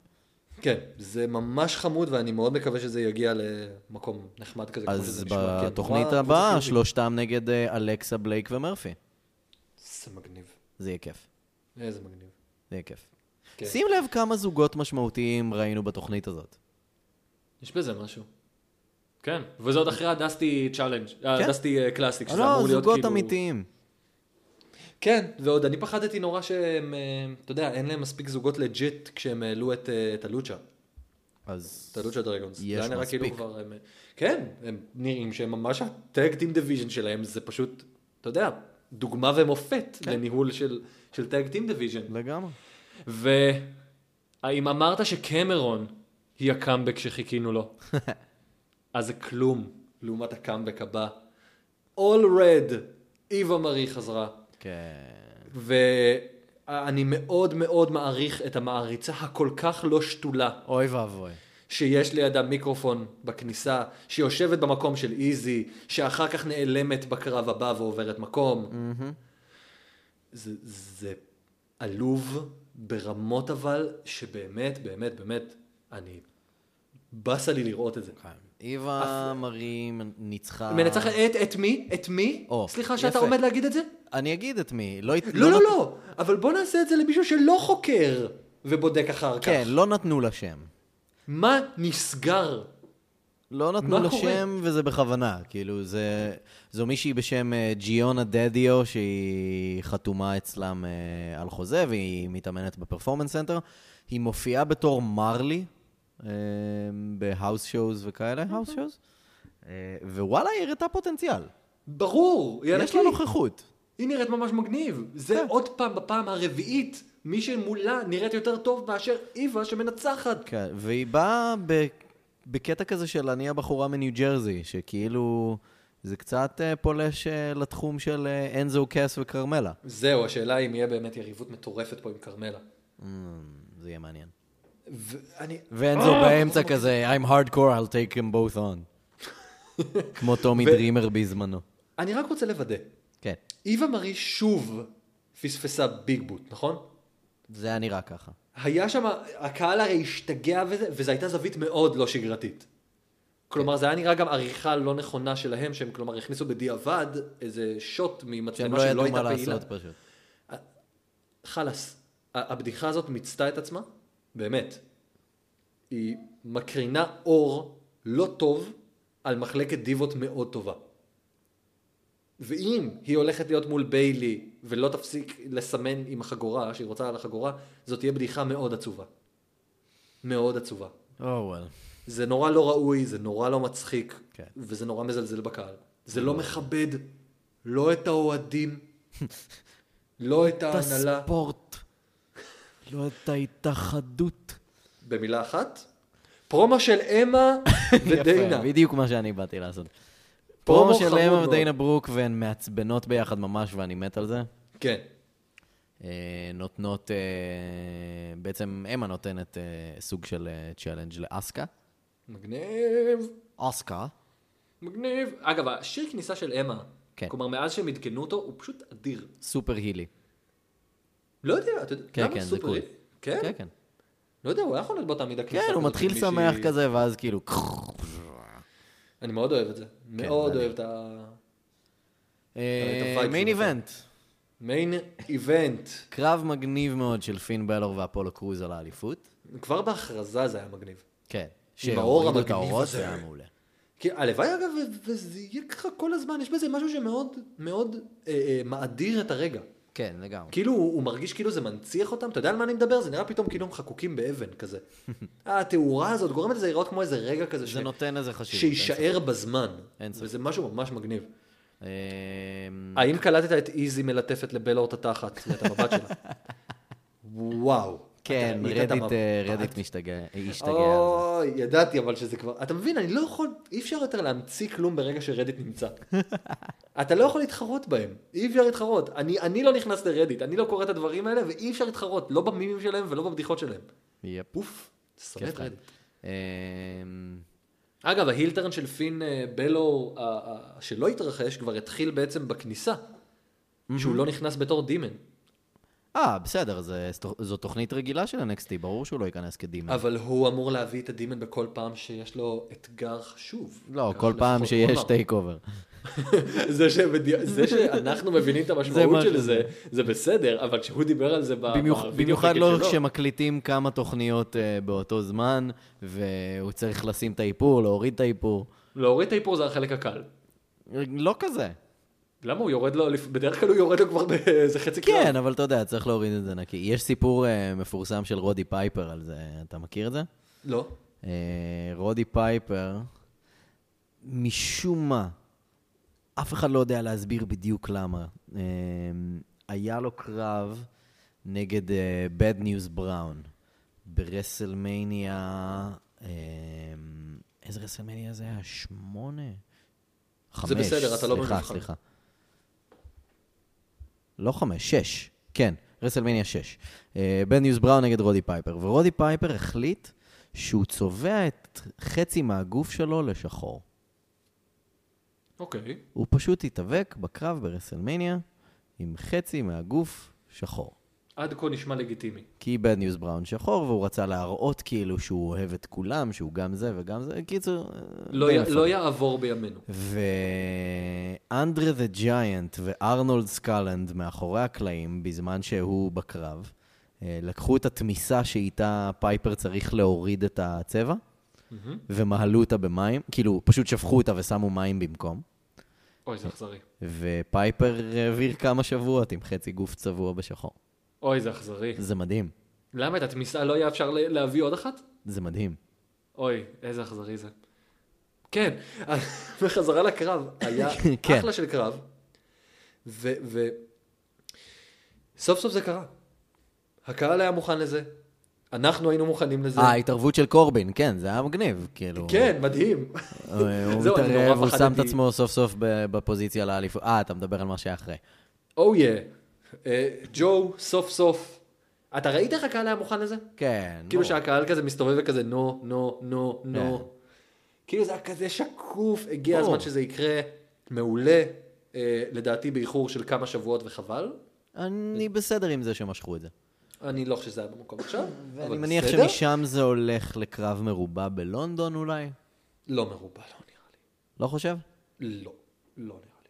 Speaker 4: כן, זה ממש חמוד, ואני מאוד מקווה שזה יגיע למקום נחמד כזה. כמו
Speaker 3: אז
Speaker 4: שזה נשמע, כן.
Speaker 3: בתוכנית
Speaker 4: וואו,
Speaker 3: הבאה,
Speaker 4: קבוצה חיובית.
Speaker 3: שלושתם נגד אה, אלכסה, בלייק ומרפי.
Speaker 4: זה מגניב.
Speaker 3: זה יהיה כיף.
Speaker 4: איזה מגניב.
Speaker 3: זה יהיה כיף.
Speaker 4: כן.
Speaker 3: שים לב כמה זוגות משמעותיים ראינו בתוכנית הזאת.
Speaker 1: יש בזה משהו. כן, וזה עוד אחרי הדסטי צ'אלנג',
Speaker 3: כן.
Speaker 1: הדסטי אה, קלאסיק, שזה
Speaker 3: לא,
Speaker 1: אמור להיות
Speaker 3: זוגות
Speaker 1: כאילו...
Speaker 3: אמיתיים.
Speaker 4: כן, ועוד אני פחדתי נורא שהם, אה, אתה יודע, אין להם מספיק זוגות לג'יט כשהם העלו את, אה, את הלוצ'ה,
Speaker 3: אז
Speaker 4: את הלוצ'ה דרגונס.
Speaker 3: יש
Speaker 4: זה היה נראה כאילו
Speaker 3: מספיק.
Speaker 4: כבר הם, אה, כן, הם נראים שהם ממש הטאג טים דיוויז'ן שלהם, זה פשוט, אתה יודע, דוגמה ומופת
Speaker 3: כן.
Speaker 4: לניהול של, של טאג טים דיוויז'ן.
Speaker 3: לגמרי.
Speaker 1: והאם אמרת שקמרון היא הקאמבק שחיכינו
Speaker 3: [LAUGHS]
Speaker 1: לו? אז זה כלום.
Speaker 4: לעומת הקאמבק הבא. All Red, איווה מארי חזרה.
Speaker 3: כן.
Speaker 4: ואני מאוד מאוד מעריך את המעריצה הכל כך לא שתולה
Speaker 3: אוי ואבוי.
Speaker 4: שיש לידה מיקרופון בכניסה, שיושבת במקום של איזי, שאחר כך נעלמת בקרב הבא ועוברת מקום.
Speaker 3: Mm-hmm.
Speaker 4: זה, זה עלוב ברמות אבל, שבאמת, באמת, באמת, אני... באסה לי לראות את זה.
Speaker 3: כן. איווה מרים ניצחה...
Speaker 4: מנצח את, את מי? את מי?
Speaker 3: אה. או,
Speaker 4: סליחה שאתה
Speaker 3: יפה.
Speaker 4: עומד להגיד את זה?
Speaker 3: אני אגיד את מי. לא, הת-
Speaker 4: לא, לא,
Speaker 3: נת-
Speaker 4: לא, אבל בוא נעשה את זה למישהו שלא חוקר ובודק אחר כך.
Speaker 3: כן, לא נתנו לה שם.
Speaker 4: מה נסגר?
Speaker 3: לא
Speaker 4: מה
Speaker 3: נתנו
Speaker 4: קורה?
Speaker 3: לה שם, וזה בכוונה. כאילו, זה... זו מישהי בשם אה, ג'יונה דדיו, שהיא חתומה אצלם אה, על חוזה, והיא מתאמנת בפרפורמנס סנטר. היא מופיעה בתור מרלי, אה, בהאוס שואוז וכאלה,
Speaker 4: אוקיי.
Speaker 3: האוס שואוז. אה, ווואלה, היא הראתה פוטנציאל.
Speaker 4: ברור, היא
Speaker 3: יש
Speaker 4: ענקית.
Speaker 3: לה נוכחות.
Speaker 4: היא נראית ממש מגניב.
Speaker 3: כן.
Speaker 4: זה עוד פעם, בפעם הרביעית, מי שמולה נראית יותר טוב מאשר איווה שמנצחת.
Speaker 3: כן, והיא באה ב... בקטע כזה של אני הבחורה מניו ג'רזי, שכאילו... זה קצת אה, פולש אה, לתחום של אה, אנזו קאס וכרמלה.
Speaker 4: זהו, השאלה אם יהיה באמת יריבות מטורפת פה עם כרמלה.
Speaker 3: Mm, זה יהיה מעניין.
Speaker 4: ואני...
Speaker 3: ואנזו
Speaker 4: אה,
Speaker 3: באמצע
Speaker 4: אוקיי.
Speaker 3: כזה, I'm hardcore, I'll take them both
Speaker 4: [LAUGHS]
Speaker 3: on. כמו טומי דרימר בזמנו.
Speaker 4: אני רק רוצה לוודא.
Speaker 3: כן,
Speaker 4: איווה מרי שוב פספסה ביג בוט, נכון?
Speaker 3: זה היה נראה ככה.
Speaker 4: היה שם, הקהל הרי השתגע וזה, וזו הייתה זווית מאוד לא שגרתית. כלומר, זה היה נראה גם עריכה לא נכונה שלהם, שהם כלומר הכניסו בדיעבד איזה שוט
Speaker 3: שהם
Speaker 4: ממצלמה
Speaker 3: לא
Speaker 4: שלא
Speaker 3: ידעו
Speaker 4: הייתה
Speaker 3: מה
Speaker 4: פעילה.
Speaker 3: לעשות פשוט.
Speaker 4: חלאס, ה- הבדיחה הזאת מיצתה את עצמה, באמת. היא מקרינה אור לא טוב על מחלקת דיבות מאוד טובה. ואם היא הולכת להיות מול ביילי ולא תפסיק לסמן עם החגורה, שהיא רוצה על החגורה, זאת תהיה בדיחה מאוד עצובה. מאוד עצובה.
Speaker 3: Oh well.
Speaker 4: זה נורא לא ראוי, זה נורא לא מצחיק,
Speaker 3: כן.
Speaker 4: וזה נורא מזלזל בקהל. זה לא מכבד לא את האוהדים, לא את
Speaker 3: את
Speaker 4: ההנהלה.
Speaker 3: הספורט. לא את ההתאחדות.
Speaker 4: במילה אחת, פרומו של אמה ודיינה.
Speaker 3: [LAUGHS] יפה, בדיוק מה שאני באתי לעשות.
Speaker 4: פרומו
Speaker 3: פרומו של
Speaker 4: חמוד
Speaker 3: אמה
Speaker 4: מאוד.
Speaker 3: ודיינה ברוק, והן מעצבנות ביחד ממש, ואני מת על זה.
Speaker 4: כן,
Speaker 3: אה, נותנות, אה, בעצם אמה נותנת אה, סוג של אה, צ'אלנג' לאסקה.
Speaker 4: מגניב,
Speaker 3: אסקה.
Speaker 4: מגניב. אגב, השיר כניסה של אמה,
Speaker 3: כן.
Speaker 4: כלומר, מאז שהם עדכנו אותו, הוא פשוט אדיר.
Speaker 3: סופר הילי.
Speaker 4: לא יודע, אתה יודע,
Speaker 3: כן,
Speaker 4: למה
Speaker 3: כן, זה
Speaker 4: סופר
Speaker 3: קול.
Speaker 4: היל? כן?
Speaker 3: כן, כן.
Speaker 4: לא יודע, הוא היה יכול להיות באותה מידה כניסה
Speaker 3: כן, הוא
Speaker 4: כזאת
Speaker 3: מתחיל
Speaker 4: עם
Speaker 3: שמח
Speaker 4: מישהי.
Speaker 3: כזה, ואז כאילו...
Speaker 4: אני מאוד אוהב את זה. מאוד
Speaker 3: כן, אני-
Speaker 4: אוהב את ה... את
Speaker 3: אה,
Speaker 4: הווייב
Speaker 3: מיין
Speaker 4: שלו, כן.
Speaker 3: איבנט.
Speaker 4: מיין איבנט.
Speaker 3: קרב מגניב מאוד של פין בלור ואפולו קרוז על האליפות.
Speaker 4: כבר בהכרזה זה היה מגניב.
Speaker 3: כן.
Speaker 4: האור
Speaker 3: שהורידו את
Speaker 4: המגניב
Speaker 3: האורות,
Speaker 4: הזה.
Speaker 3: זה היה מעולה.
Speaker 4: כי הלוואי אגב, ו- וזה יהיה ככה כל הזמן, יש בזה משהו שמאוד מאוד אה, אה, מאדיר את הרגע.
Speaker 3: כן, לגמרי.
Speaker 4: כאילו, הוא הוא מרגיש כאילו זה מנציח אותם, אתה יודע על מה אני מדבר? זה נראה פתאום כאילו הם חקוקים באבן
Speaker 3: [LAUGHS]
Speaker 4: כזה. התאורה הזאת גורמת לזה לראות כמו איזה רגע כזה ש-
Speaker 3: זה נותן לזה חשיבות. אין
Speaker 4: שיישאר בזמן.
Speaker 3: אין ספק. Mm.
Speaker 4: וזה משהו ממש מגניב.
Speaker 3: ספק. אמ,
Speaker 4: האם קלטת את איזי מלטפת לבלור את התחת, זאת אומרת, המבט
Speaker 3: [LAUGHS]
Speaker 4: שלה? וואו.
Speaker 3: כן,
Speaker 4: אתה ראית את
Speaker 3: רדיט, אה,
Speaker 4: המבט?
Speaker 3: רדיט משתגע, השתגע על זה.
Speaker 4: אוי, ידעתי אבל שזה כבר... אתה מבין, אני לא יכול, אי אפשר יותר להמציא כלום ברגע שרדיט
Speaker 3: [LAUGHS]
Speaker 4: נמצא. אתה לא יכול להתחרות בהם, אי אפשר להתחרות. אני, אני לא נכנס לרדיט, אני לא קורא את הדברים האלה, ואי אפשר להתחרות, לא במימים שלהם ולא בבדיחות שלהם.
Speaker 3: יפ.
Speaker 4: פוף, שונא
Speaker 3: כיף אה,
Speaker 4: את
Speaker 3: להם.
Speaker 4: רדיט.
Speaker 3: אמ,
Speaker 4: אגב, ההילטרן של פין אה, בלו, ה- ה- שלא התרחש, כבר התחיל בעצם בכניסה. שהוא לא נכנס בתור דימן.
Speaker 3: אה, בסדר, זה- זו תוכנית רגילה של NXT, ברור שהוא לא ייכנס קדימה.
Speaker 4: אבל הוא אמור להביא את הדימן בכל פעם שיש לו אתגר חשוב.
Speaker 3: לא,
Speaker 4: כך
Speaker 3: כל פעם
Speaker 4: לפחות
Speaker 3: שיש
Speaker 4: הוא אמר.
Speaker 3: טייק אובר.
Speaker 4: זה, שבדי... זה שאנחנו מבינים את
Speaker 3: זה מה
Speaker 4: המשמעות של
Speaker 3: שזה.
Speaker 4: זה, זה בסדר, אבל כשהוא דיבר על זה ב-
Speaker 3: במיוח-
Speaker 4: בווידאו
Speaker 3: במיוחד
Speaker 4: פקט
Speaker 3: לא
Speaker 4: שלו,
Speaker 3: כשמקליטים כמה תוכניות אה, באותו זמן, והוא צריך לשים את האיפור, להוריד את האיפור.
Speaker 1: להוריד את האיפור זה החלק הקל.
Speaker 3: לא כזה.
Speaker 1: למה הוא
Speaker 4: יורד לו, לפ- בדרך כלל הוא יורד לו כבר באיזה חצי קרב.
Speaker 3: כן, אבל אתה יודע, צריך להוריד את זה נקי. יש סיפור אה, מפורסם של רודי פייפר על זה, אתה מכיר את זה?
Speaker 4: לא.
Speaker 3: אה, רודי פייפר, משום מה, אף אחד לא יודע להסביר בדיוק למה. אה, היה לו קרב נגד אה, Bad News Brown ברסלמניה, אה, איזה רסלמניה זה היה? שמונה? חמש,
Speaker 4: בסדר, אתה לא
Speaker 3: סליחה,
Speaker 4: במבחן.
Speaker 3: סליחה. לא חמש, שש. כן, רסלמניה שש. אה, בן ניוס בראון נגד רודי פייפר. ורודי פייפר החליט שהוא צובע את חצי מהגוף שלו לשחור.
Speaker 1: אוקיי.
Speaker 3: הוא פשוט התאבק בקרב ברסלמניה עם חצי מהגוף שחור.
Speaker 1: עד כה נשמע לגיטימי.
Speaker 3: כי בד ניוז בראון שחור, והוא רצה להראות כאילו שהוא אוהב את כולם, שהוא גם זה וגם זה, קיצור... אה,
Speaker 1: לא
Speaker 3: די
Speaker 1: י-
Speaker 3: מפגר.
Speaker 1: לא יעבור בימינו.
Speaker 3: ואנדרה דה ג'יינט וארנולד סקלנד מאחורי הקלעים, בזמן שהוא בקרב, אה, לקחו את התמיסה שאיתה פייפר צריך להוריד את הצבע, ומהלו אותה במים, כאילו, פשוט שפכו אותה ושמו מים במקום,
Speaker 1: אוי, זה אכזרי.
Speaker 3: ופייפר העביר כמה שבועות עם חצי גוף צבוע בשחור.
Speaker 1: אוי, זה אכזרי.
Speaker 4: כן.
Speaker 3: זה מדהים,
Speaker 1: למה את התמיסה לא היה אפשר ל- להביא עוד אחת?
Speaker 3: זה מדהים.
Speaker 1: אוי, איזה אכזרי זה. כן,
Speaker 4: [LAUGHS]
Speaker 1: בחזרה לקרב, היה
Speaker 3: [LAUGHS] כן.
Speaker 4: אחלה של קרב, ו... ו... סוף סוף זה קרה. הקהל היה מוכן לזה, אנחנו היינו מוכנים לזה.
Speaker 3: אה, ההתערבות של קורבין, כן, זה היה מגניב, כאילו.
Speaker 4: כן, מדהים.
Speaker 3: הוא הוא
Speaker 4: [LAUGHS] זהו, אני נורא
Speaker 3: מתערב, הוא שם את
Speaker 4: פחדתי.
Speaker 3: עצמו סוף סוף ב- בפוזיציה לאליפות. אה, אתה מדבר על מה שהיה אחרי.
Speaker 4: או יא. Oh אה, ג'ו, סוף סוף. אתה ראית איך הקהל היה מוכן לזה?
Speaker 3: כן.
Speaker 4: כאילו
Speaker 3: ברור.
Speaker 4: שהקהל כזה מסתובב וכזה נו, נו, נו,
Speaker 3: כן.
Speaker 4: נו. כאילו זה היה כזה שקוף, הגיע
Speaker 3: ברור.
Speaker 4: הזמן שזה יקרה, מעולה, אה, לדעתי באיחור של כמה שבועות וחבל.
Speaker 3: אני בסדר עם זה שמשכו את זה.
Speaker 4: אני לא חושב שזה היה במקום עכשיו,
Speaker 3: ואני
Speaker 4: אבל
Speaker 3: מניח
Speaker 4: בסדר.
Speaker 3: שמשם זה הולך לקרב מרובע בלונדון אולי?
Speaker 4: לא מרובע, לא נראה
Speaker 3: לא חושב?
Speaker 4: לי. לא, לא נראה לי.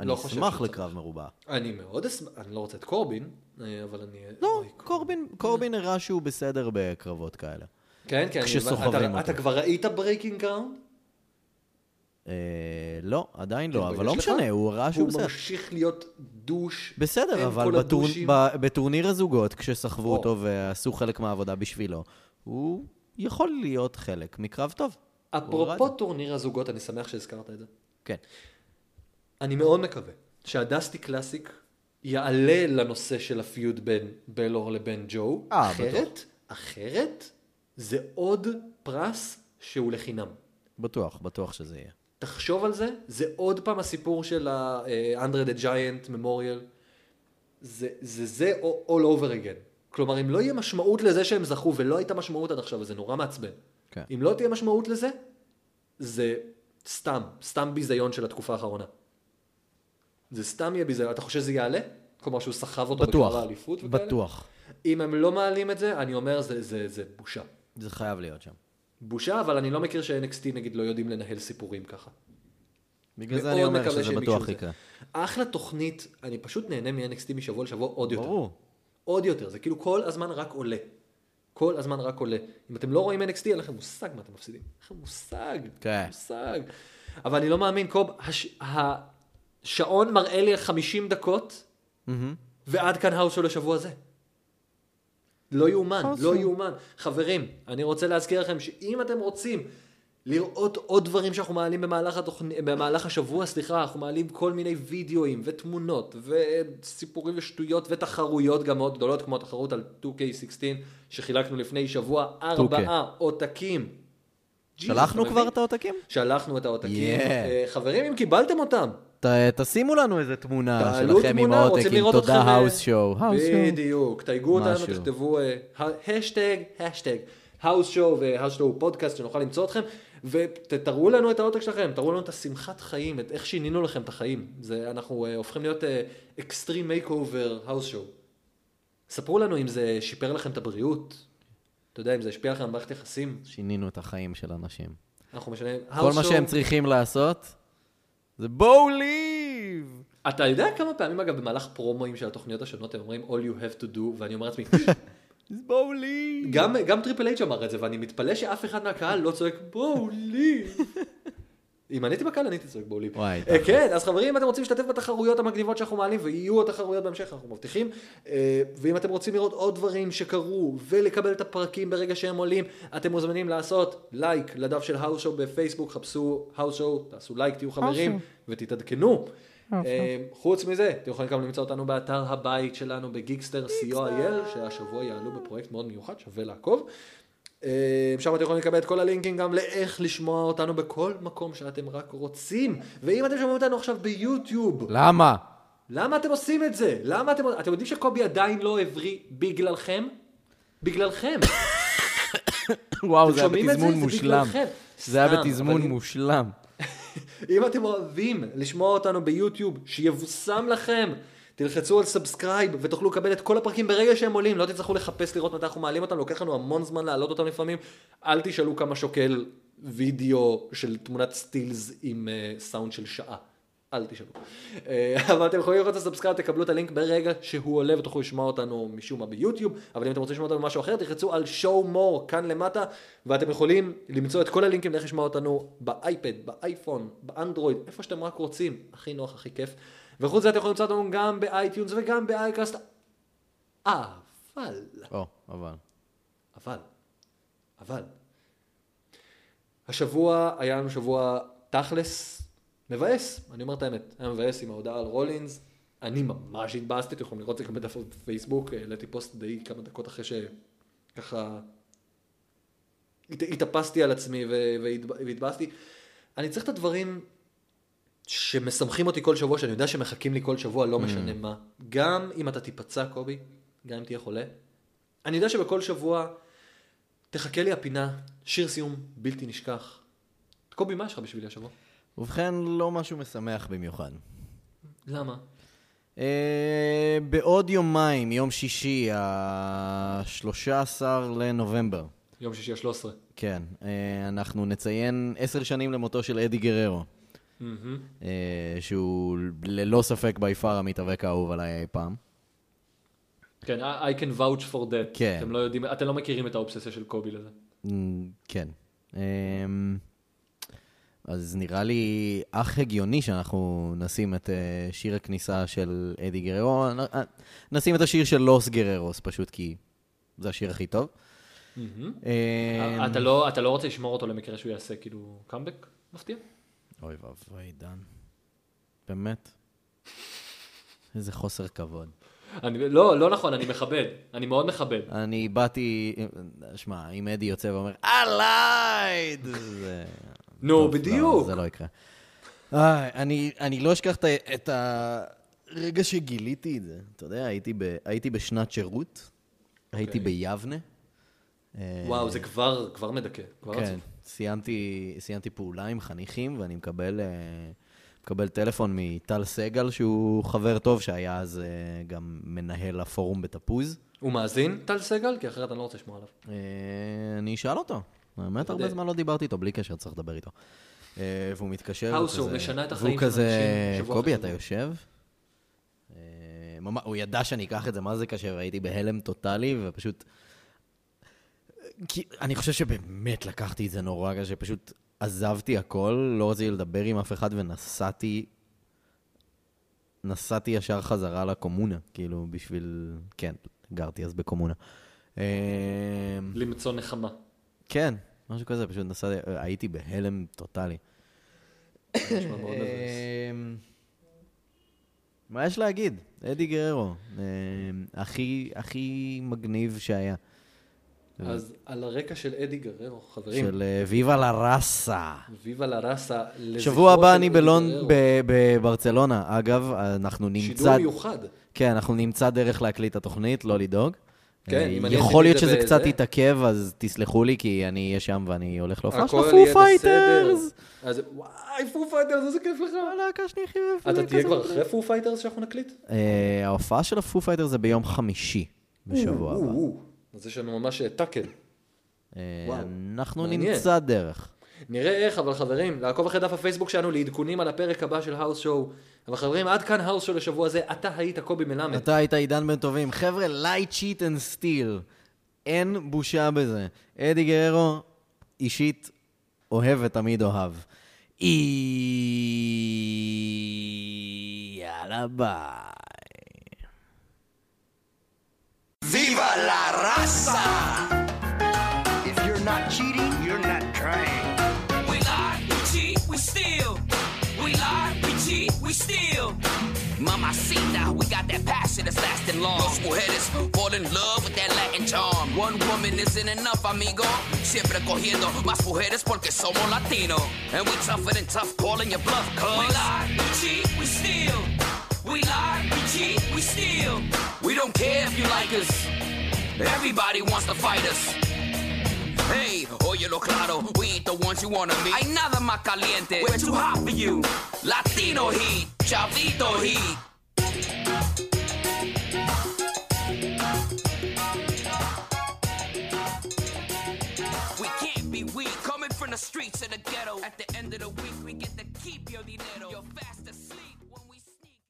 Speaker 3: אני
Speaker 4: לא חושב
Speaker 3: אשמח
Speaker 4: שצריך.
Speaker 3: לקרב מרובע.
Speaker 4: אני מאוד אשמח, אני לא רוצה את קורבין, אה, אבל אני...
Speaker 3: לא,
Speaker 4: אוי,
Speaker 3: קורבין- קורבין הראה שהוא בסדר בקרבות כאלה.
Speaker 4: כן, כן, אני-
Speaker 3: כשסוחבים
Speaker 4: אתה-
Speaker 3: אותו.
Speaker 4: אתה כבר ראית ברייקינג גראונד?
Speaker 3: אה, לא, עדיין לא,
Speaker 4: כן,
Speaker 3: אבל לא
Speaker 4: יש לך?
Speaker 3: משנה, הוא הראה שהוא
Speaker 4: הוא
Speaker 3: בסדר.
Speaker 4: ממשיך להיות דוש.
Speaker 3: בסדר,
Speaker 4: אין
Speaker 3: אבל
Speaker 4: כל
Speaker 3: בטור-
Speaker 4: הדושים.
Speaker 3: ב- בטורניר הזוגות, כשסחבו
Speaker 4: או.
Speaker 3: אותו ועשו חלק מהעבודה בשבילו, הוא יכול להיות חלק מקרב טוב. הוא הראה את
Speaker 4: אפרופו
Speaker 3: זה.
Speaker 4: טורניר הזוגות, אני שמח שהזכרת את זה.
Speaker 3: כן.
Speaker 4: אני מאוד מקווה שהדסטי קלאסיק יעלה לנושא של הפיוד בין בלור לבין ג'ו.
Speaker 3: אה,
Speaker 4: אחרת, אחרת, זה עוד פרס שהוא לחינם.
Speaker 3: בטוח, בטוח שזה יהיה.
Speaker 4: תחשוב על זה, זה עוד פעם הסיפור של ה-Andre the Giant Memorial. זה זה, זה all over again. כלומר, אם לא יהיה משמעות לזה שהם זכו, ולא הייתה משמעות עד עכשיו, וזה נורא מעצבן.
Speaker 3: כן.
Speaker 4: אם לא תהיה משמעות לזה, זה סתם, סתם ביזיון של התקופה האחרונה. זה סתם יהיה ביזיון. אתה חושב שזה יעלה? כלומר שהוא סחב אותו
Speaker 3: בטוח,
Speaker 4: בקרב האליפות וכאלה?
Speaker 3: בטוח.
Speaker 4: אם הם לא מעלים את זה, אני אומר, זה, זה, זה בושה.
Speaker 3: זה חייב להיות שם.
Speaker 4: בושה, אבל אני לא מכיר ש-NXT נגיד לא יודעים לנהל סיפורים ככה.
Speaker 3: בגלל זה
Speaker 4: מאוד
Speaker 3: אני אומר
Speaker 4: מקווה
Speaker 3: שזה
Speaker 4: שהם
Speaker 3: בטוח
Speaker 4: יקשו את זה.
Speaker 3: יקרה.
Speaker 4: אחלה תוכנית, אני פשוט נהנה מ-NXT משבוע לשבוע עוד יותר.
Speaker 3: ברור.
Speaker 4: עוד יותר, זה כאילו כל הזמן רק עולה. כל הזמן רק עולה. אם אתם לא רואים NXT, אין לכם מושג מה אתם מפסידים. אין לכם מושג.
Speaker 3: כן.
Speaker 4: מושג. אבל אני לא מאמין, קוב, הש... השעון מראה לי 50 דקות,
Speaker 3: מהמם.
Speaker 4: ועד כאן האוס של השבוע הזה. לא יאומן, לא יאומן. חברים, אני רוצה להזכיר לכם שאם אתם רוצים לראות עוד דברים שאנחנו מעלים במהלך, התוכנ... במהלך השבוע, סליחה, אנחנו מעלים כל מיני וידאוים ותמונות וסיפורים ושטויות ותחרויות גם מאוד גדולות, כמו התחרות על 2K16 שחילקנו לפני שבוע, ארבעה עותקים.
Speaker 3: שלחנו
Speaker 4: Jesus, אתה
Speaker 3: כבר
Speaker 4: מבין?
Speaker 3: את העותקים?
Speaker 4: שלחנו את העותקים.
Speaker 3: Yeah.
Speaker 4: אה, חברים, אם קיבלתם אותם,
Speaker 3: ת- תשימו לנו איזה תמונה
Speaker 4: תעלו
Speaker 3: אה, שלכם עם
Speaker 4: תמונה, רוצים
Speaker 3: העותקים.
Speaker 4: לראות
Speaker 3: תודה,
Speaker 4: אתכם, אה,
Speaker 3: האוס שואו. האוס שואו.
Speaker 4: בדיוק, תייגו אותנו,
Speaker 3: משהו.
Speaker 4: תכתבו אה, השטג, השטג, האוס שואו והאוס שואו פודקאסט שנוכל למצוא אתכם, ותראו לנו את העותק שלכם, תראו לנו את השמחת חיים, את איך שינינו לכם את החיים. זה, אנחנו אה, הופכים להיות אקסטרים מייק אובר האוס שואו. ספרו לנו אם זה שיפר לכם את הבריאות, אתה יודע, אם זה השפיע לכם על מערכת יחסים,
Speaker 3: שינינו את החיים של אנשים.
Speaker 4: אנחנו משנים.
Speaker 3: כל
Speaker 4: House
Speaker 3: מה
Speaker 4: Show-
Speaker 3: שהם צריכים לעשות זה בואו ליב!
Speaker 4: אתה יודע כמה פעמים, אגב, במהלך פרומואים של התוכניות השונות, הם אומרים All you have to do, ואני אומר לעצמי,
Speaker 3: אז בואו ליב!
Speaker 4: גם, גם טריפל אייץ' אמר את זה, ואני מתפלא שאף אחד מהקהל לא צועק בואו לי. אם אני הייתי בקהל, אני הייתי צועק בואו לי.
Speaker 3: וואי,
Speaker 4: אה, כן, אז חברים, אם אתם רוצים להשתתף בתחרויות המגניבות שאנחנו מעלים, ויהיו עוד תחרויות בהמשך, אנחנו מבטיחים. אה, ואם אתם רוצים לראות עוד דברים שקרו, ולקבל את הפרקים ברגע שהם עולים, אתם מוזמנים לעשות לייק לדף של האוס שואו בפייסבוק, חפשו האוס שואו, תעשו לייק, תהיו חברים, ותתעדכנו. אה, חוץ מזה, אתם יכולים גם למצוא אותנו באתר הבית שלנו בגיקסטר co.il, שהשבוע יעלו בפרויקט מאוד מיוחד, שווה לעקוב. אה, שם אתם יכולים לקבל את כל הלינקים גם לאיך לשמוע אותנו בכל מקום שאתם רק רוצים. ואם אתם שומעים אותנו עכשיו ביוטיוב,
Speaker 3: למה?
Speaker 4: למה אתם עושים את זה? למה אתם... אתם יודעים שקובי עדיין לא הבריא בגללכם? בגללכם.
Speaker 3: וואו,
Speaker 4: אתם
Speaker 3: זה היה
Speaker 4: שומעים את
Speaker 3: בתזמון
Speaker 4: זה? זה
Speaker 3: מושלם.
Speaker 4: בגללכם.
Speaker 3: זה היה
Speaker 4: סתם,
Speaker 3: בתזמון
Speaker 4: אבל אם-
Speaker 3: מושלם.
Speaker 4: אם אתם אוהבים לשמוע אותנו ביוטיוב, שיבושם לכם, תלחצו על סאבסקרייב ותוכלו לקבל את כל הפרקים ברגע שהם עולים, לא תצטרכו לחפש לראות מתי אנחנו מעלים אותם, לוקח לנו המון זמן להעלות אותם לפעמים. אל תשאלו כמה שוקל וידאו של תמונת סטילס עם אה, סאונד של שעה. אל תשאלו. אה, אבל אתם יכולים לראות את הסאבסקרייב, תקבלו את הלינק ברגע שהוא עולה ותוכלו לשמוע אותנו משום מה ביוטיוב, אבל אם אתם רוצים לשמוע אותנו במשהו אחר, תלחצו על show more כאן למטה, ואתם יכולים למצוא את כל הלינקים לאיך לשמוע אותנו באייפד, באייפון, באנדרואיד, איפה שאתם רק רוצים, הכי נוח, הכי כיף. וחוץ מזה אתם יכולים למצוא אותנו גם באייטיונס וגם באייקאסט, אבל,
Speaker 3: או, אבל.
Speaker 4: אבל, אבל, השבוע היה לנו שבוע תכלס מבאס, אני אומר את האמת, היה מבאס עם ההודעה על רולינס, אני ממש התבאסתי, אתם יכולים לראות את זה גם בדף הפייסבוק, העליתי פוסט די כמה דקות אחרי שככה הת- התאפסתי על עצמי ו- והתב- והתבאסתי. אני צריך את הדברים שמשמחים אותי כל שבוע, שאני יודע שמחכים לי כל שבוע, לא משנה מה. גם אם אתה תיפצע, קובי, גם אם תהיה חולה, אני יודע שבכל שבוע תחכה לי הפינה, שיר סיום בלתי נשכח. קובי, מה יש לך בשבילי השבוע?
Speaker 3: ובכן, לא משהו משמח במיוחד.
Speaker 4: למה?
Speaker 3: אה, בעוד יומיים, יום שישי, ה-13 לנובמבר,
Speaker 4: יום שישי ה-13.
Speaker 3: כן, אה, אנחנו נציין עשר שנים למותו של אדי גררו, אה, שהוא ללא ספק בי פאר המתאבק האהוב עליי אי פעם.
Speaker 1: כן, I I can vouch for that.
Speaker 3: כן.
Speaker 1: אתם לא יודעים, אתם לא מכירים את האובססיה של קובי לזה.
Speaker 3: אמ, כן. אמ, אז נראה לי אך הגיוני שאנחנו נשים את אה, שיר הכניסה של אדי גררו, נ- אה, נשים את השיר של לוס גררוס פשוט, כי זה השיר הכי טוב.
Speaker 4: אה,
Speaker 3: אמ,
Speaker 1: אתה לא- אתה לא רוצה לשמור אותו למקרה שהוא יעשה כאילו קאמבק מפתיע?
Speaker 3: אוי ואבוי, דן. באמת? איזה חוסר כבוד.
Speaker 1: אני- לא, לא נכון, אני מכבד. אני מאוד מכבד.
Speaker 3: אני באתי, שמע, אם אדי יוצא ואומר, אלייד! זה...
Speaker 1: נו,
Speaker 3: טוב,
Speaker 1: בדיוק.
Speaker 3: לא, זה לא יקרה. אה, אני, אני לא אשכח את ה- את הרגע שגיליתי את זה. אתה יודע, הייתי, ב, הייתי בשנת שירות, הייתי ביבנה. אה,
Speaker 4: אוקיי. וואו, זה כבר, כבר מדכא. כבר לא
Speaker 3: כן,
Speaker 4: עצוב.
Speaker 3: סיימתי, סיימתי פעולה עם חניכים, ואני מקבל, אה, מקבל טלפון מטל סגל, שהוא חבר טוב, שהיה אז אה, גם מנהל הפורום בתפוז.
Speaker 4: הוא מאזין, טל סגל? כי אחרת אני לא רוצה לשמוע עליו.
Speaker 3: אה, אני אשאל אותו. באמת הרבה
Speaker 4: יודע.
Speaker 3: זמן לא דיברתי איתו, בלי קשר, צריך לדבר איתו. אה, והוא מתקשר,
Speaker 1: האוס, הוא משנה את החיים
Speaker 3: והוא
Speaker 1: של
Speaker 3: כזה,
Speaker 1: אנשים שבוע
Speaker 3: קובי,
Speaker 1: אחרי
Speaker 3: אתה
Speaker 1: שבוע."
Speaker 3: יושב? אה, ממש- הוא ידע שאני אקח את זה, מה זה קשה, והייתי בהלם טוטאלי, ופשוט... כי אני חושב שבאמת לקחתי את זה נורא קשה, פשוט עזבתי הכל, לא רציתי לדבר עם אף אחד, ונסעתי... נסעתי ישר חזרה לקומונה, כאילו, בשביל... כן, גרתי אז בקומונה. אה,
Speaker 1: למצוא נחמה.
Speaker 3: כן, משהו כזה, פשוט נסעתי, הייתי בהלם טוטאלי.
Speaker 4: זה נשמע מאוד מבאס.
Speaker 3: אמ, מה יש להגיד? אדי גררו, אמ, הכי, הכי מגניב שהיה.
Speaker 4: אז על הרקע של אדי גררו, חברים,
Speaker 3: אה. של אה, ויווה לה ראסה.
Speaker 4: ויווה לה ראסה. לזכרו
Speaker 3: שבוע
Speaker 4: של
Speaker 3: הבא אני
Speaker 4: אדי
Speaker 3: בלונד,
Speaker 4: גררו.
Speaker 3: ב- בברצלונה. אגב, אנחנו
Speaker 4: שידור
Speaker 3: נמצא...
Speaker 4: מיוחד.
Speaker 3: כן, אנחנו נמצא דרך להקליט את התוכנית, לא לדאוג.
Speaker 4: כן,
Speaker 3: אה,
Speaker 4: אם אני
Speaker 3: יכול להיות
Speaker 4: עשיתי את זה
Speaker 3: שזה קצת
Speaker 4: בזה.
Speaker 3: יתעכב, אז תסלחו לי, כי אני אהיה שם ואני הולך להופעה של
Speaker 4: הכל
Speaker 3: הפו
Speaker 4: יהיה בסדר.
Speaker 3: פייטרס.
Speaker 4: אז וואי, פו פייטרס, איזה כיף לך.
Speaker 3: הלהקה שאני הכי אוהב.
Speaker 4: אתה
Speaker 3: הלהקה
Speaker 4: תהיה כבר
Speaker 3: הזאת.
Speaker 4: אחרי פו פייטרס שאנחנו נקליט?
Speaker 3: אה, ההופעה של הפו פייטר זה ביום חמישי בשבוע הבא.
Speaker 4: או, אז יש לנו ממש אה, טאקל.
Speaker 3: אה,
Speaker 4: וואו,
Speaker 3: אנחנו
Speaker 4: מעניין.
Speaker 3: נמצא דרך.
Speaker 4: נראה איך, אבל חברים, לעקוב אחרי דף הפייסבוק שלנו לעדכונים על הפרק הבא של האוס שואו. אבל חברים, עד כאן האוס שואו לשבוע זה, אתה היית קובי מלמד.
Speaker 3: אתה היית עידן בן טובים. חבר'ה, light cheat and steal. אין בושה בזה. אדי גררו, אישית, אוהב ותמיד אוהב. אי- יאללה ביי.
Speaker 6: Viva la raza! If you're not cheating, you're not trying.
Speaker 7: We lie, we cheat, we steal. We lie, we cheat, we steal. Mama see now we got that passion that's lasting long. Those mujeres fall in love with that Latin charm. One woman isn't enough, amigo. Siempre cogiendo más mujeres porque somos latino. And we tougher than tough calling your bluff, cuz. We lie, we cheat, we steal. We lie, we cheat, we steal. We don't care if you like us. Everybody wants to fight us. Hey, óyelo claro, we ain't the ones you wanna meet. Hay nada más caliente, we're too hot for you. Latino heat, chavito heat. We can't be weak, coming from the streets of the ghetto. At the end of the week, we get to keep your dinero.